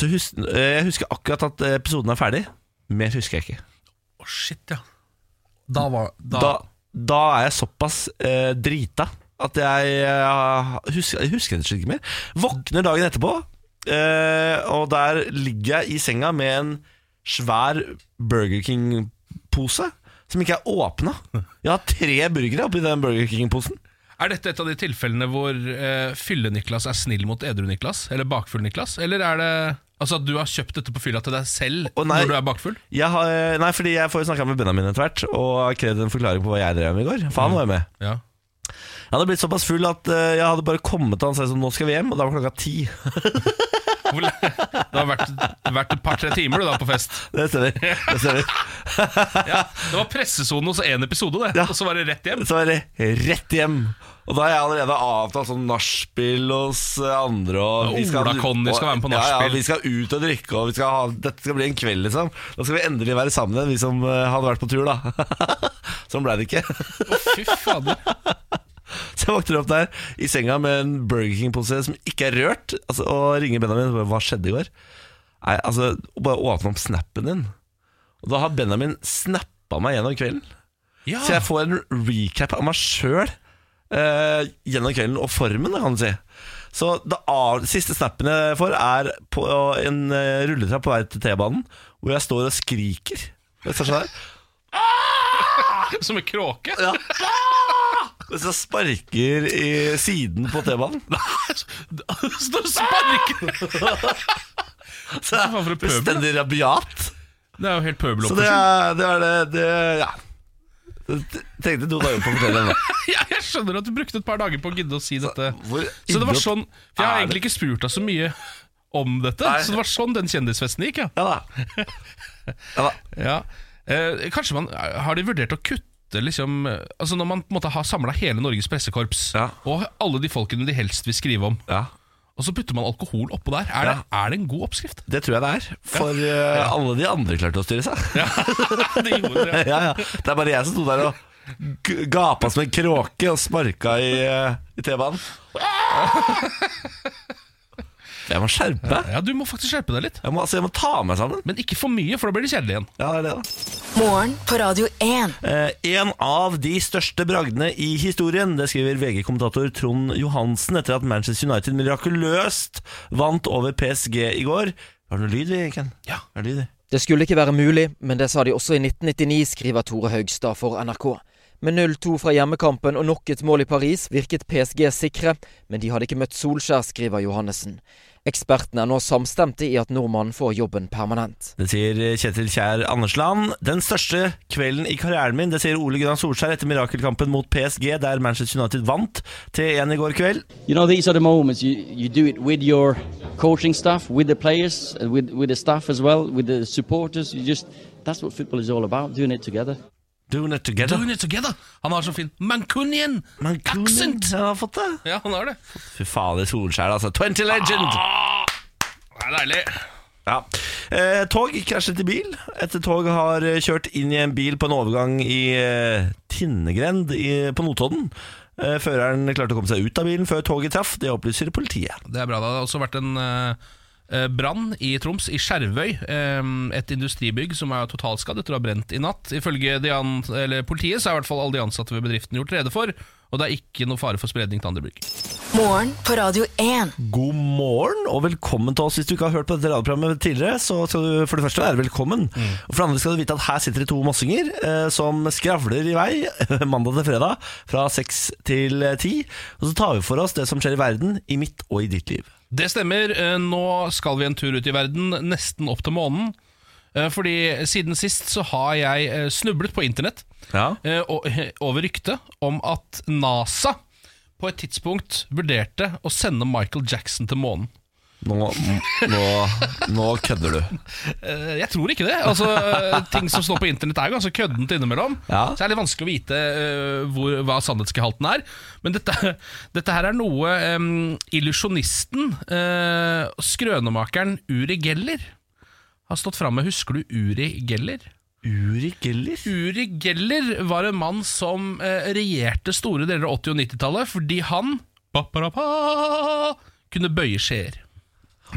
Speaker 1: Så hus eh, jeg husker akkurat at episoden er ferdig. Mer husker jeg ikke.
Speaker 2: Å, shit, ja. Da var da,
Speaker 1: Da, da er jeg såpass eh, drita at jeg eh, husker, jeg husker rett og slett ikke mer. Våkner dagen etterpå, eh, og der ligger jeg i senga med en svær Burger King-pose som ikke er åpna. Jeg har tre burgere oppi den Burger King-posen.
Speaker 2: Er dette et av de tilfellene hvor eh, fylle-Niklas er snill mot edru-Niklas? Eller bakfull-Niklas? Eller er det altså at du har kjøpt dette på fylla til deg selv
Speaker 1: Å, nei.
Speaker 2: når du er bakfull?
Speaker 1: Jeg har, eh, nei, fordi jeg får jo snakka med Benjamin etter hvert, og har krevd en forklaring på hva jeg drev med i går. For han var jo med.
Speaker 2: Ja.
Speaker 1: Jeg hadde blitt såpass full at eh, jeg hadde bare kommet til han og sagt sånn, nå skal vi hjem, og da var klokka ti.
Speaker 2: Hvor, det har vært, vært et par-tre timer du da på fest.
Speaker 1: Det stemmer. Det stemmer.
Speaker 2: Ja, det var pressesonen hos én episode, det.
Speaker 1: Ja.
Speaker 2: Og så var det rett hjem.
Speaker 1: Så er det rett hjem. Og da har jeg allerede avtalt sånn nachspiel hos eh, andre. Og
Speaker 2: Ja, Ola Conny skal være med på
Speaker 1: Ja, ja,
Speaker 2: nachspiel.
Speaker 1: vi skal ut og drikke, og vi skal ha, dette skal bli en kveld, liksom. Da skal vi endelig være sammen igjen, vi som eh, hadde vært på tur, da. sånn ble det ikke.
Speaker 2: Å, fy fader.
Speaker 1: Så jeg våkner opp der i senga med en Burger King-pose som ikke er rørt, altså, og ringer Benjamin og bare 'Hva skjedde i går?' Nei, altså, bare åpne opp snappen din. Og da har Benjamin snappa meg gjennom kvelden.
Speaker 2: Ja.
Speaker 1: Så jeg får en recap av meg sjøl eh, gjennom kvelden og formen, da, kan du si. Så det av, siste snappen jeg får, er på en eh, rulletrapp på vei til T-banen, hvor jeg står og skriker. Mens jeg, står der.
Speaker 2: Som en kråke.
Speaker 1: mens jeg sparker i siden på T-banen.
Speaker 2: Står og sparker!
Speaker 1: Så
Speaker 2: Hva
Speaker 1: jeg
Speaker 2: for en
Speaker 1: er
Speaker 2: pøbel, da?
Speaker 1: Bestendig rabiat.
Speaker 2: Det er jo helt
Speaker 1: Så det
Speaker 2: pøbeloppførsel.
Speaker 1: er det, er det, det Ja. Jeg Tenkte to dager på å fortelle om det.
Speaker 2: Ja, jeg skjønner at du brukte et par dager på å gidde å si dette.
Speaker 1: hvor
Speaker 2: Så det var
Speaker 1: idiot
Speaker 2: sånn For jeg har
Speaker 1: er
Speaker 2: egentlig ikke spurt deg så mye om dette,
Speaker 1: Nei.
Speaker 2: så det var sånn den kjendisfesten gikk, ja.
Speaker 1: Ja da. Ja da.
Speaker 2: ja. Eh, kanskje man Har de vurdert å kutte liksom eh, Altså Når man på en måte har samla hele Norges pressekorps,
Speaker 1: Ja.
Speaker 2: og alle de folkene de helst vil skrive om,
Speaker 1: Ja.
Speaker 2: og så putter man alkohol oppå der. Er det, er det en god oppskrift?
Speaker 1: Det tror jeg det er. For eh, alle de andre klarte å styre seg.
Speaker 2: Det gjorde det,
Speaker 1: ja,
Speaker 2: ja.
Speaker 1: ja. Det er bare jeg som sto der og g- gapa som en kråke og sparka i, eh, i T-banen. Jeg må skjerpe meg.
Speaker 2: Ja, Du må faktisk skjerpe deg litt.
Speaker 1: Jeg må, altså, jeg må ta meg sammen.
Speaker 2: Men ikke for mye, for da blir det kjedelig igjen.
Speaker 1: Ja, det er det da.
Speaker 5: Morgen på Radio 1.
Speaker 1: Eh, en av de største bragdene i historien, det skriver VG-kommentator Trond Johansen etter at Manchester United mirakuløst vant over PSG i går. Var det noe lyd, vi, Ken?
Speaker 2: Ja.
Speaker 1: Var det lyd, vi?
Speaker 6: Det skulle ikke være mulig, men det sa de også i 1999, skriver Tore Haugstad for NRK. Med 0-2 fra hjemmekampen og nok et mål i Paris virket PSG sikre, men de hadde ikke møtt Solskjær, skriver Johannessen. Ekspertene er nå samstemte i at nordmannen får jobben permanent.
Speaker 1: Det sier Kjetil Kjær Andersland. Den største kvelden i karrieren min, det sier Ole Gunnar Solskjær etter mirakelkampen mot PSG, der Manchester United vant 3-1 i går kveld.
Speaker 7: You know, these are the moments you, you do it with your coaching staff, with the players, and with, with the staff as well, with the supporters. You just that's what football is all about, doing it together.
Speaker 1: Doing it together.
Speaker 2: Doing it together. Han har så fin Mancunian
Speaker 1: Mancunian,
Speaker 2: accent!
Speaker 1: Han har fått det.
Speaker 2: Ja, han har det.
Speaker 1: Fy fader, Solskjær, altså. 20 legend!
Speaker 2: Ah. Det er deilig.
Speaker 1: Ja. Eh, tog krasjet i bil. Et tog har eh, kjørt inn i en bil på en overgang i eh, Tinnegrend i, på Notodden. Eh, føreren klarte å komme seg ut av bilen før toget traff. Det opplyser politiet.
Speaker 2: Det er bra. Det har også vært en eh, eh, brann i Troms, i Skjervøy. Eh, et industribygg som er totalskadd etter å ha brent i natt. Ifølge de an eller politiet så er i hvert fall alle de ansatte ved bedriften gjort rede for, og det er ikke noe fare for spredning til andre bygg.
Speaker 5: Morgen på Radio 1.
Speaker 1: God morgen og velkommen til oss. Hvis du ikke har hørt på dette radioprogrammet tidligere, så skal du for det første være velkommen. Og for det andre skal du vite at her sitter det to mossinger eh, som skravler i vei mandag til fredag fra seks til eh, ti. Og så tar vi for oss det som skjer i verden, i mitt og i ditt liv.
Speaker 2: Det stemmer. Eh, Nå skal vi en tur ut i verden, nesten opp til månen. Eh, Fordi siden sist så har jeg eh, snublet på internett
Speaker 1: Ja.
Speaker 2: eh, og- over ryktet om at NASA på et tidspunkt vurderte å sende Michael Jackson til månen.
Speaker 1: Nå, nå, nå kødder du.
Speaker 2: Eh, Jeg tror ikke det. Altså, eh, ting som står på internett er ganske køddent innimellom.
Speaker 1: Ja.
Speaker 2: Så det er litt vanskelig å vite eh, hvor, hva sannhetsgehalten er. Men dette, dette her er noe em, illusjonisten, eh, skrønemakeren Uri Geller, har stått fram med. Husker du Uri Geller?
Speaker 1: Uri Geller?
Speaker 2: Uri Geller var en mann som eh, regjerte store deler av 80- og 90-tallet fordi han ba-ba-da-ba, kunne bøye skjeer.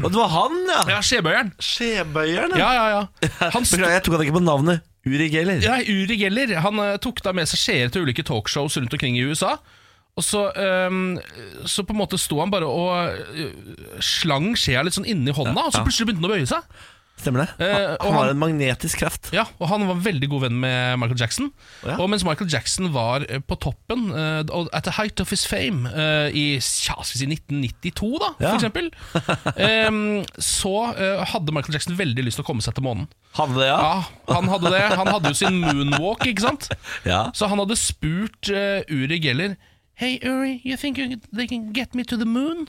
Speaker 1: Og det var han, ja!
Speaker 2: Ja, skjebøyeren.
Speaker 1: Skjebøyeren,
Speaker 2: Ja, ja, ja. Han sto-
Speaker 1: Beklager, jeg tok han ikke på navnet. Uri Geller.
Speaker 2: Ja, Uri Geller han eh, tok da med seg seere til ulike talkshows rundt omkring i USA. Og så, ehm, så på en måte sto han bare og eh, slang skjea litt sånn inni hånda, og så plutselig begynte han å bøye seg.
Speaker 1: Stemmer det? Han,
Speaker 2: Eh, og
Speaker 1: han har
Speaker 2: han-
Speaker 1: en magnetisk kraft.
Speaker 2: Ja, og Han var veldig god venn med Michael Jackson.
Speaker 1: Ja.
Speaker 2: Og mens Michael Jackson var eh, på toppen, eh, og at the height of his fame, eh, i tja, skal vi si 1992, da,
Speaker 1: Ja.
Speaker 2: for eksempel, ehm, så eh, hadde Michael Jackson veldig lyst til å komme seg til månen.
Speaker 1: Hadde det, ja?
Speaker 2: Ja, han hadde det. Han hadde jo sin moonwalk, ikke sant?
Speaker 1: Ja.
Speaker 2: Så han hadde spurt eh, Uri Geller Hey Uri, you think you, they can get me to the moon?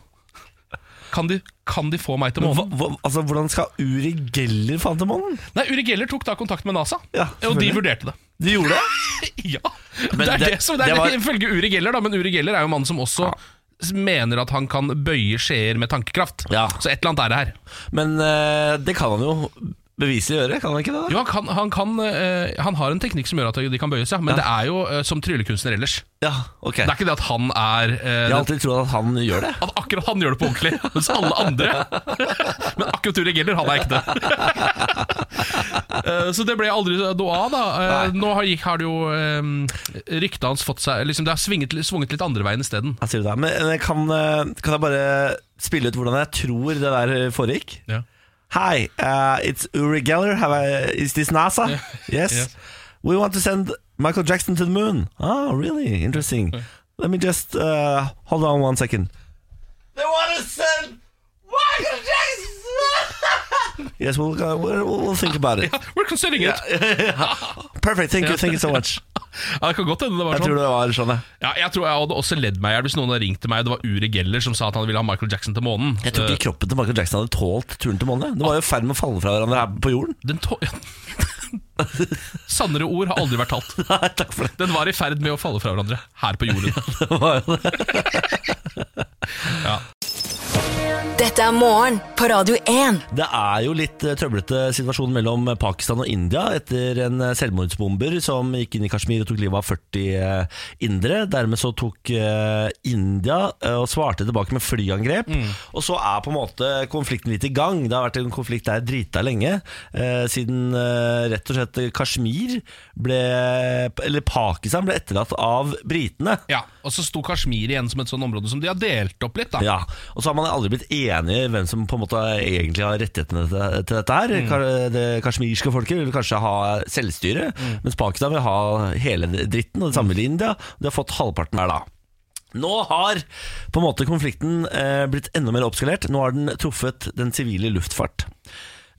Speaker 2: Kan de, kan de få meg til
Speaker 1: Hva,
Speaker 2: månen?
Speaker 1: hva, altså, hvordan skal Uri Geller faen til månen?
Speaker 2: Nei, Uri Geller tok da kontakt med NASA,
Speaker 1: Ja,
Speaker 2: og de
Speaker 1: selvfølgelig.
Speaker 2: vurderte det.
Speaker 1: De gjorde det?
Speaker 2: Ja,
Speaker 1: Men
Speaker 2: det er det,
Speaker 1: det-
Speaker 2: som det
Speaker 1: det
Speaker 2: er
Speaker 1: var-
Speaker 2: ifølge Uri Geller, da, men Uri Geller er jo en mann som også mener at han kan bøye skjeer med tankekraft.
Speaker 1: Ja.
Speaker 2: Så et eller annet er det her.
Speaker 1: Men eh, det kan han jo beviselig gjøre, kan han ikke det? da?
Speaker 2: Jo, han, kan, han, kan, eh, han har en teknikk som gjør at de kan bøye seg, men det er jo eh, som tryllekunstner ellers.
Speaker 1: Ja, ok.
Speaker 2: Det er ikke det at han er eh,
Speaker 1: Jeg har
Speaker 2: den
Speaker 1: alltid trodd at han gjør det.
Speaker 2: At akkurat han gjør det på ordentlig, mens alle andre Men akkurat Uri Geller, han er ekte. Eh, Så det ble aldri noe av, da. Eh, Nå har, gikk- har det jo eh, ryktet hans fått seg liksom, Det har svinget, svunget litt andre veien isteden.
Speaker 1: Hva sier du da? Men eh, kan, eh, kan jeg bare spille ut hvordan jeg tror det der eh, foregikk?
Speaker 2: Ja.
Speaker 1: Hi, uh, it's Uri Geller. Have I, is this NASA? Yes.
Speaker 2: Yes.
Speaker 1: We want to send Michael Jackson to the moon. Oh, really? Interesting. Let me just uh, hold on one second. They want to send Michael Jackson. yes, we'll, go, we'll we'll think about it.
Speaker 2: We're considering it!
Speaker 1: Perfect. Thank you. Thank you so much.
Speaker 2: Ja, det kan godt hende det var
Speaker 1: Jeg tror
Speaker 2: sånn.
Speaker 1: det var sånn. jeg.
Speaker 2: Ja, jeg tror jeg hadde også ledd meg i hjel hvis noen hadde ringt til meg og det var Uri Geller som sa at han ville ha Michael Jackson til månen.
Speaker 1: Jeg tror
Speaker 2: Eh,
Speaker 1: ikke kroppen til Michael Jackson hadde tålt turen til månen. jeg. Det var jo i ferd med å falle fra hverandre her på jorden.
Speaker 2: Den to Sannere ord har aldri vært talt.
Speaker 1: Nei, takk for det.
Speaker 2: Den var i ferd med å falle fra hverandre her på jorden.
Speaker 1: det var jo det.
Speaker 5: Dette er morgen på Radio 1.
Speaker 1: Det er jo litt eh, trøblete situasjon mellom Pakistan og India etter en eh, selvmordsbomber som gikk inn i Kashmir og tok livet av 40 eh, indere. Dermed så tok eh, India eh, og svarte tilbake med flyangrep. Og så er på en måte konflikten litt i gang. Det har vært en konflikt der drita lenge. eh, Siden eh, rett og slett Kashmir ble Eller Pakistan ble etterlatt av britene.
Speaker 2: Ja, Og så sto Kashmir igjen som et sånn område som de har delt opp litt. da
Speaker 1: Ja, og så har man aldri blitt enige hvem som på en måte egentlig har rettighetene til til dette her. Ka- Det kasjmirske folket vil kanskje ha selvstyre, mens Pakistan vil ha hele dritten, og det samme vil India. De har fått halvparten hver da. Nå har på en måte konflikten eh, blitt enda mer oppskalert. Nå har den truffet den sivile luftfart.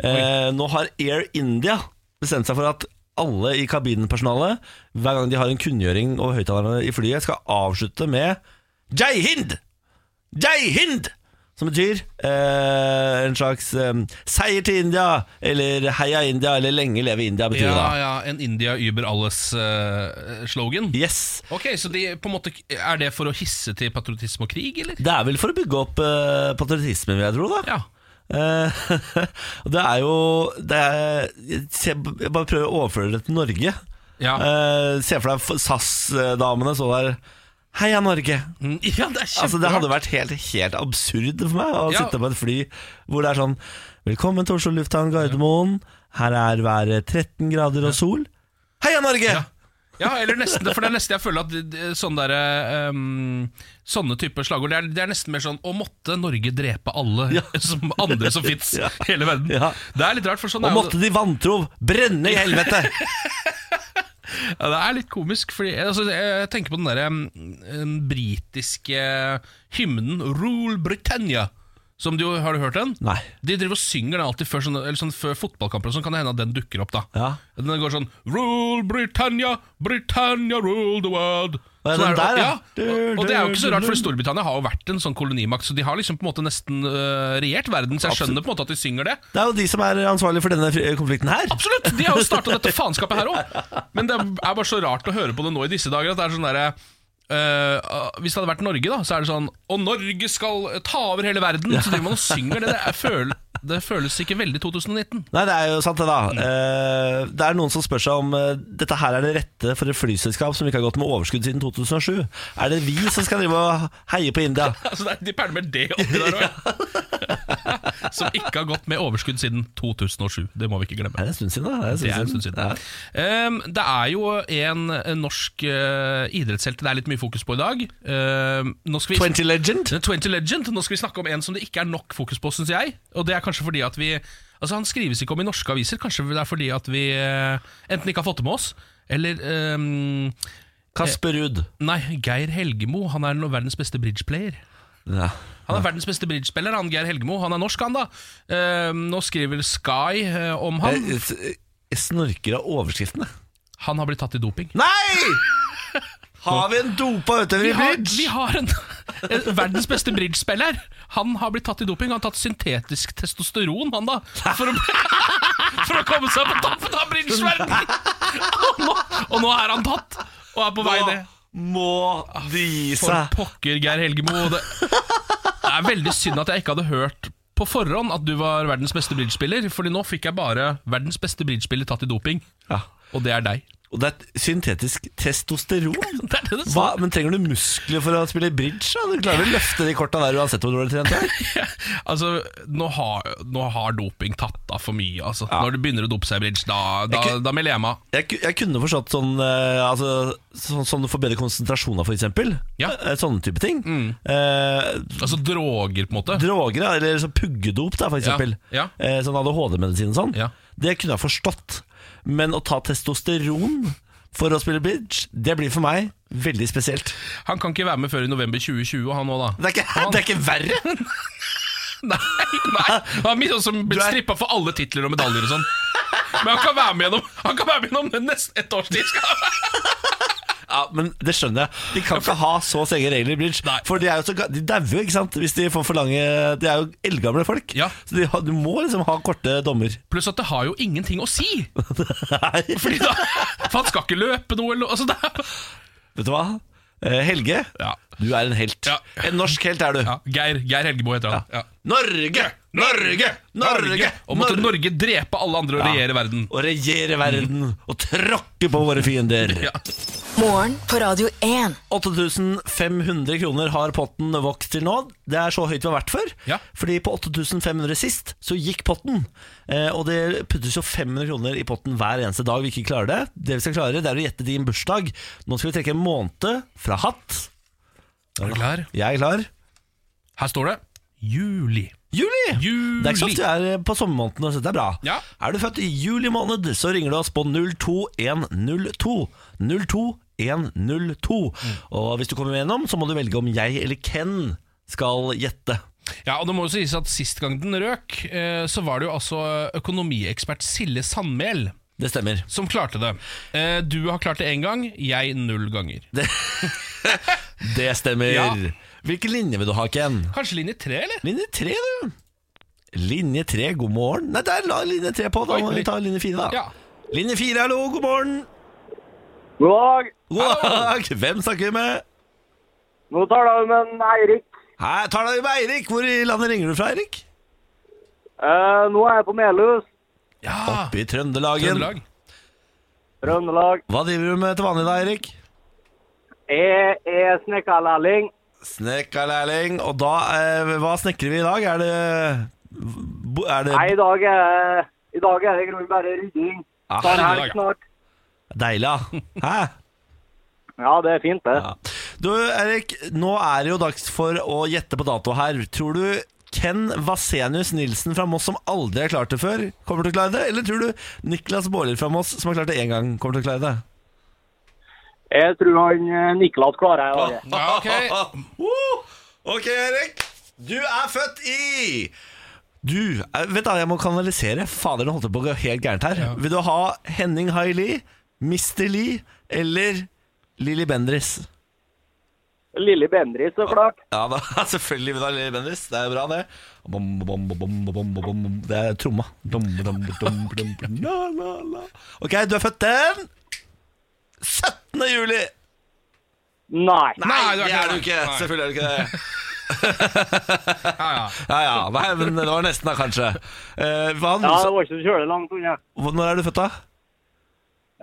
Speaker 1: Eh, nå har Air India bestemt seg for at alle i kabinpersonalet, hver gang de har en kunngjøring over høyttalerne i flyet, skal avslutte med Jai Hind! Jai Hind! Som betyr eh, en slags eh, seier til India, eller heia India, eller lenge leve India, betyr
Speaker 2: ja,
Speaker 1: det da.
Speaker 2: ja En India über alles-slogan.
Speaker 1: Yes!
Speaker 2: ok, så de, på en måte, Er det for å hisse til patriotisme og krig, eller?
Speaker 1: Det er vel for å bygge opp eh, patriotismen, vil jeg tro, da.
Speaker 2: Ja.
Speaker 1: Eh, og det er jo det er, se, Jeg bare prøver å overføre det til Norge.
Speaker 2: Ja,
Speaker 1: Eh, se for deg SAS-damene så der Heia Norge!
Speaker 2: Mm, ja det er kjemperart.
Speaker 1: Altså Det hadde vært helt, helt absurd for meg å
Speaker 2: Ja.
Speaker 1: sitte på et fly hvor det er sånn Velkommen til Oslo lufthavn Gardermoen. Her er været 13 grader og sol. Heia Norge!
Speaker 2: Ja. Ja, eller nesten, for det er nesten jeg føler at det- det- sånne, der, ehm, sånne typer slagord det er, det er nesten mer sånn 'Å måtte Norge drepe alle som andre som fins
Speaker 1: Ja.
Speaker 2: hele verden'.
Speaker 1: Ja.
Speaker 2: Det er litt rart, for sånn
Speaker 1: Og
Speaker 2: er,
Speaker 1: måtte
Speaker 2: jo-
Speaker 1: de vantro brenne i helvete!
Speaker 2: ja, det er litt komisk. Fordi, altså, jeg tenker på den der ehm, den britiske hymnen 'Rule Britannia'. Som du, har du hørt den?
Speaker 1: Nei.
Speaker 2: De driver og synger den alltid før, sånn, eller sånn, før fotballkamper, og sånn kan det hende at den dukker opp. da
Speaker 1: Ja.
Speaker 2: Den går sånn Rule Britannia, Britannia rule the world.
Speaker 1: Ja,
Speaker 2: Sånn
Speaker 1: den
Speaker 2: er det-
Speaker 1: der, ja.
Speaker 2: ja. Og, og det er jo ikke så rart, for Storbritannia har jo vært en sånn kolonimakt, så de har liksom på en måte nesten øh, regjert verden, så jeg skjønner på en måte at de synger det.
Speaker 1: Det er jo de som er ansvarlig for denne fri- konflikten her.
Speaker 2: Absolutt! De har jo starta dette faenskapet her òg. Men det er bare så rart å høre på det nå i disse dager. At det er sånn derre øh, øh, Hvis det hadde vært Norge, da, så er det sånn Og Norge skal ta over hele verden! Så driver man og synger det. Det, er, føl, det føles ikke veldig 2019.
Speaker 1: Nei, det er jo sant det da
Speaker 2: Mm.
Speaker 1: Eh, Det er noen som spør seg om eh, Dette her er det rette for et flyselskap Som ikke har gått med overskudd siden 2007 Er det vi som skal drive og heie på India?
Speaker 2: Altså, det er- de pælmer det oppi der òg, ja. Som ikke har gått med overskudd siden 2007. Det må vi ikke glemme.
Speaker 1: Er det en stund siden da?
Speaker 2: Det er en stund siden.
Speaker 1: Ja.
Speaker 2: Ehm, det er jo en, en norsk eh, idrettshelt det er litt mye fokus på i dag. Ehm, nå skal vi
Speaker 1: 20 Legend?
Speaker 2: 20 Legend. Nå skal vi snakke om en som det ikke er nok fokus på, syns jeg. Og det er kanskje fordi at vi Altså Han skrives ikke om i norske aviser. Kanskje det er fordi at vi eh, enten ikke har fått det med oss, eller ehm,
Speaker 1: Kasper Rudd
Speaker 2: Nei, Geir Helgemo. Han er no- verdens beste bridgeplayer.
Speaker 1: ja.
Speaker 2: Han er verdens beste bridgespiller, han Geir Helgemo. Han er norsk, han, da. Ehm, nå skriver Sky eh, om han.
Speaker 1: jeg, jeg- jeg eh, snorker av overskriftene
Speaker 2: Han har blitt tatt i doping.
Speaker 1: Nei! Har vi en dopa utøver
Speaker 2: Vi
Speaker 1: i
Speaker 2: har,
Speaker 1: bridge?
Speaker 2: vi har en, en verdens beste bridgespiller. Han har blitt tatt i doping. Han har tatt syntetisk testosteron, han da. For å, for å komme seg på toppen av bridgeverdenen! Og, nå- og nå er han tatt, og er på vei ned.
Speaker 1: Må
Speaker 2: Ah,
Speaker 1: de gi
Speaker 2: For
Speaker 1: seg
Speaker 2: pokker, Geir Helgemo. Det, det er veldig synd at jeg ikke hadde hørt på forhånd at du var verdens beste bridgespiller, Fordi nå fikk jeg bare verdens beste bridgespiller tatt i doping,
Speaker 1: ja.
Speaker 2: og det er deg.
Speaker 1: Og det er syntetisk testosteron
Speaker 2: Det er det det
Speaker 1: Hva? Men trenger du muskler for å spille bridge? Da? Du klarer å løfte de korta der uansett hvor du har trent. da.
Speaker 2: Altså, nå har, nå har doping tatt av for mye. Altså. Når du begynner å dope seg i bridge, da, da,
Speaker 1: Jeg kunne-
Speaker 2: da melder jeg meg. av.
Speaker 1: Jeg, ku- jeg kunne forstått sånn eh, altså, Sånn, sånn du får bedre konsentrasjon av, for eksempel.
Speaker 2: Ja. Mm.
Speaker 1: Eh, Sånne type ting. Eh,
Speaker 2: Altså droger, på en måte.
Speaker 1: droger, da, eller sånn puggedop, da, for eksempel.
Speaker 2: ja.
Speaker 1: Eh, sånn ADHD-medisin og sånn.
Speaker 2: Ja.
Speaker 1: Det kunne jeg forstått. Men å ta testosteron for å spille bridge, det blir for meg veldig spesielt.
Speaker 2: Han kan ikke være med før i november 2020, og han òg, da.
Speaker 1: Det er ikke, det er ikke verre!
Speaker 2: Nei, nei. Han har mye sånn som blitt
Speaker 1: Du er-
Speaker 2: strippa for alle titler og medaljer og sånn. Men han kan være med gjennom Han kan være med gjennom nesten ett års tid. Skal. han-
Speaker 1: Ja, Men det skjønner jeg. De kan ikke ha så strenge regler i bridge.
Speaker 2: Nei.
Speaker 1: For de er jo så ga- De dauer, ikke sant? Hvis de får for lange De er jo eldgamle folk.
Speaker 2: Ja.
Speaker 1: Så de, har- du må liksom ha korte dommer.
Speaker 2: Pluss at det har jo ingenting å si! Fordi da, for han skal ikke løpe noe eller noe. Altså, det er-
Speaker 1: Vet du hva? Eh, Eh, Helge,
Speaker 2: Ja.
Speaker 1: du er en helt.
Speaker 2: Ja.
Speaker 1: En norsk helt er du.
Speaker 2: Ja, Geir, Geir Helgebo heter han. Ja.
Speaker 1: Norge! Norge! Norge!
Speaker 2: Og måtte
Speaker 1: Norge!
Speaker 2: Norge drepe alle andre og
Speaker 1: Ja.
Speaker 2: regjere verden.
Speaker 1: Å regjere verden og tråkke på våre fiender.
Speaker 2: Ja.
Speaker 5: Morgen på Radio 1.
Speaker 1: 8500 kroner har potten vokst til nå. Det er så høyt vi har vært før.
Speaker 2: Ja.
Speaker 1: Fordi på 8500 sist så gikk potten. Eh, og det puttes jo 500 kroner i potten hver eneste dag vi ikke klarer det. Det vi skal klare, det er å gjette din bursdag. Nå skal vi trekke en måned fra hatt.
Speaker 2: Er du klar?
Speaker 1: Jeg er klar.
Speaker 2: Her står det juli.
Speaker 1: Juli!
Speaker 2: Juli.
Speaker 1: Det er ikke så ofte jeg er eh, på sommermånedene, så dette er bra.
Speaker 2: Ja.
Speaker 1: Er du født i juli måned, så ringer du oss på 02102. 02102. Og hvis du kommer gjennom, så må du velge om jeg eller Ken skal gjette.
Speaker 2: Ja, og det må jo sies at Sist gang den røk, eh, så var det jo altså økonomiekspert Sille Sandmæl
Speaker 1: Det stemmer.
Speaker 2: som klarte det. Eh, Du har klart det én gang, jeg null ganger.
Speaker 1: Det stemmer.
Speaker 2: Ja.
Speaker 1: Hvilken linje vil du ha, Ken?
Speaker 2: Kanskje linje tre, eller?
Speaker 1: Linje tre, du. Linje tre, god morgen. Nei, der la linje tre på. Da
Speaker 2: Oi,
Speaker 1: må
Speaker 2: oi.
Speaker 1: vi ta linje fire, da.
Speaker 2: Ja.
Speaker 1: Linje fire, hallo, god morgen.
Speaker 8: God dag.
Speaker 1: God dag. Hvem snakker vi med?
Speaker 8: Nå tar du med en Eirik.
Speaker 1: Her tar deg med Eirik. Hvor i landet ringer du fra, Eirik?
Speaker 8: Eh, nå er jeg på Melhus,
Speaker 2: Ja,
Speaker 1: Oppe i Trøndelagen.
Speaker 2: Trøndelag.
Speaker 8: Trøndelag.
Speaker 1: Hva driver du med til vanlig da, Erik?
Speaker 8: Jeg er snekkerlærling.
Speaker 1: Snekkerlærling. Og da, eh, hva snekrer vi i dag? Er det bo- Er
Speaker 8: Nei, i
Speaker 1: det
Speaker 8: dag er, i dag er det i grunnen bare rydding.
Speaker 1: Ah,
Speaker 8: Tar
Speaker 2: i dag,
Speaker 8: helg
Speaker 2: ja.
Speaker 8: snart.
Speaker 1: deilig, da? Hæ?
Speaker 8: Ja, det er fint, det.
Speaker 1: Ja. Du, Erik, nå er det jo dags for å gjette på dato her. Tror du Ken Vasenius Nilsen fra Moss, som aldri har klart det før, kommer til å klare det? Eller tror du Niklas Baarli fra Moss, som har klart det én gang, kommer til å klare det?
Speaker 8: Jeg tror han eh, Niklas klarer jeg. Åge.
Speaker 2: Ja, ok.
Speaker 1: Uh, ok, Erik. Du er født i Du, eh, vet da, jeg må kanalisere. Fader, nå holdt jeg på å gå helt gærent her. Vil du ha Henning Haili, Mr. Lee eller Lilly Bendriss?
Speaker 8: Lille Bendriss, så klart.
Speaker 1: Ja, da, selvfølgelig vil du ha Lilly Bendriss. Det er bra, det. Bom, bom, bom, bom, bom, bom, bom. Det er tromma. Dom, dom, dom, dom, dom. La, la, la. Ok, du er født den 17. juli.
Speaker 8: Nei.
Speaker 1: Nei,
Speaker 2: du er
Speaker 1: det er du
Speaker 2: ikke det.
Speaker 1: ikke.
Speaker 2: Nei.
Speaker 1: Selvfølgelig er du ikke det.
Speaker 2: Ja, ja.
Speaker 1: Ja, ja, nei, men det var nesten da, kanskje Eh, hva,
Speaker 8: Ja, det var ikke så kjølig langt unna.
Speaker 1: hvor- Når er du født da?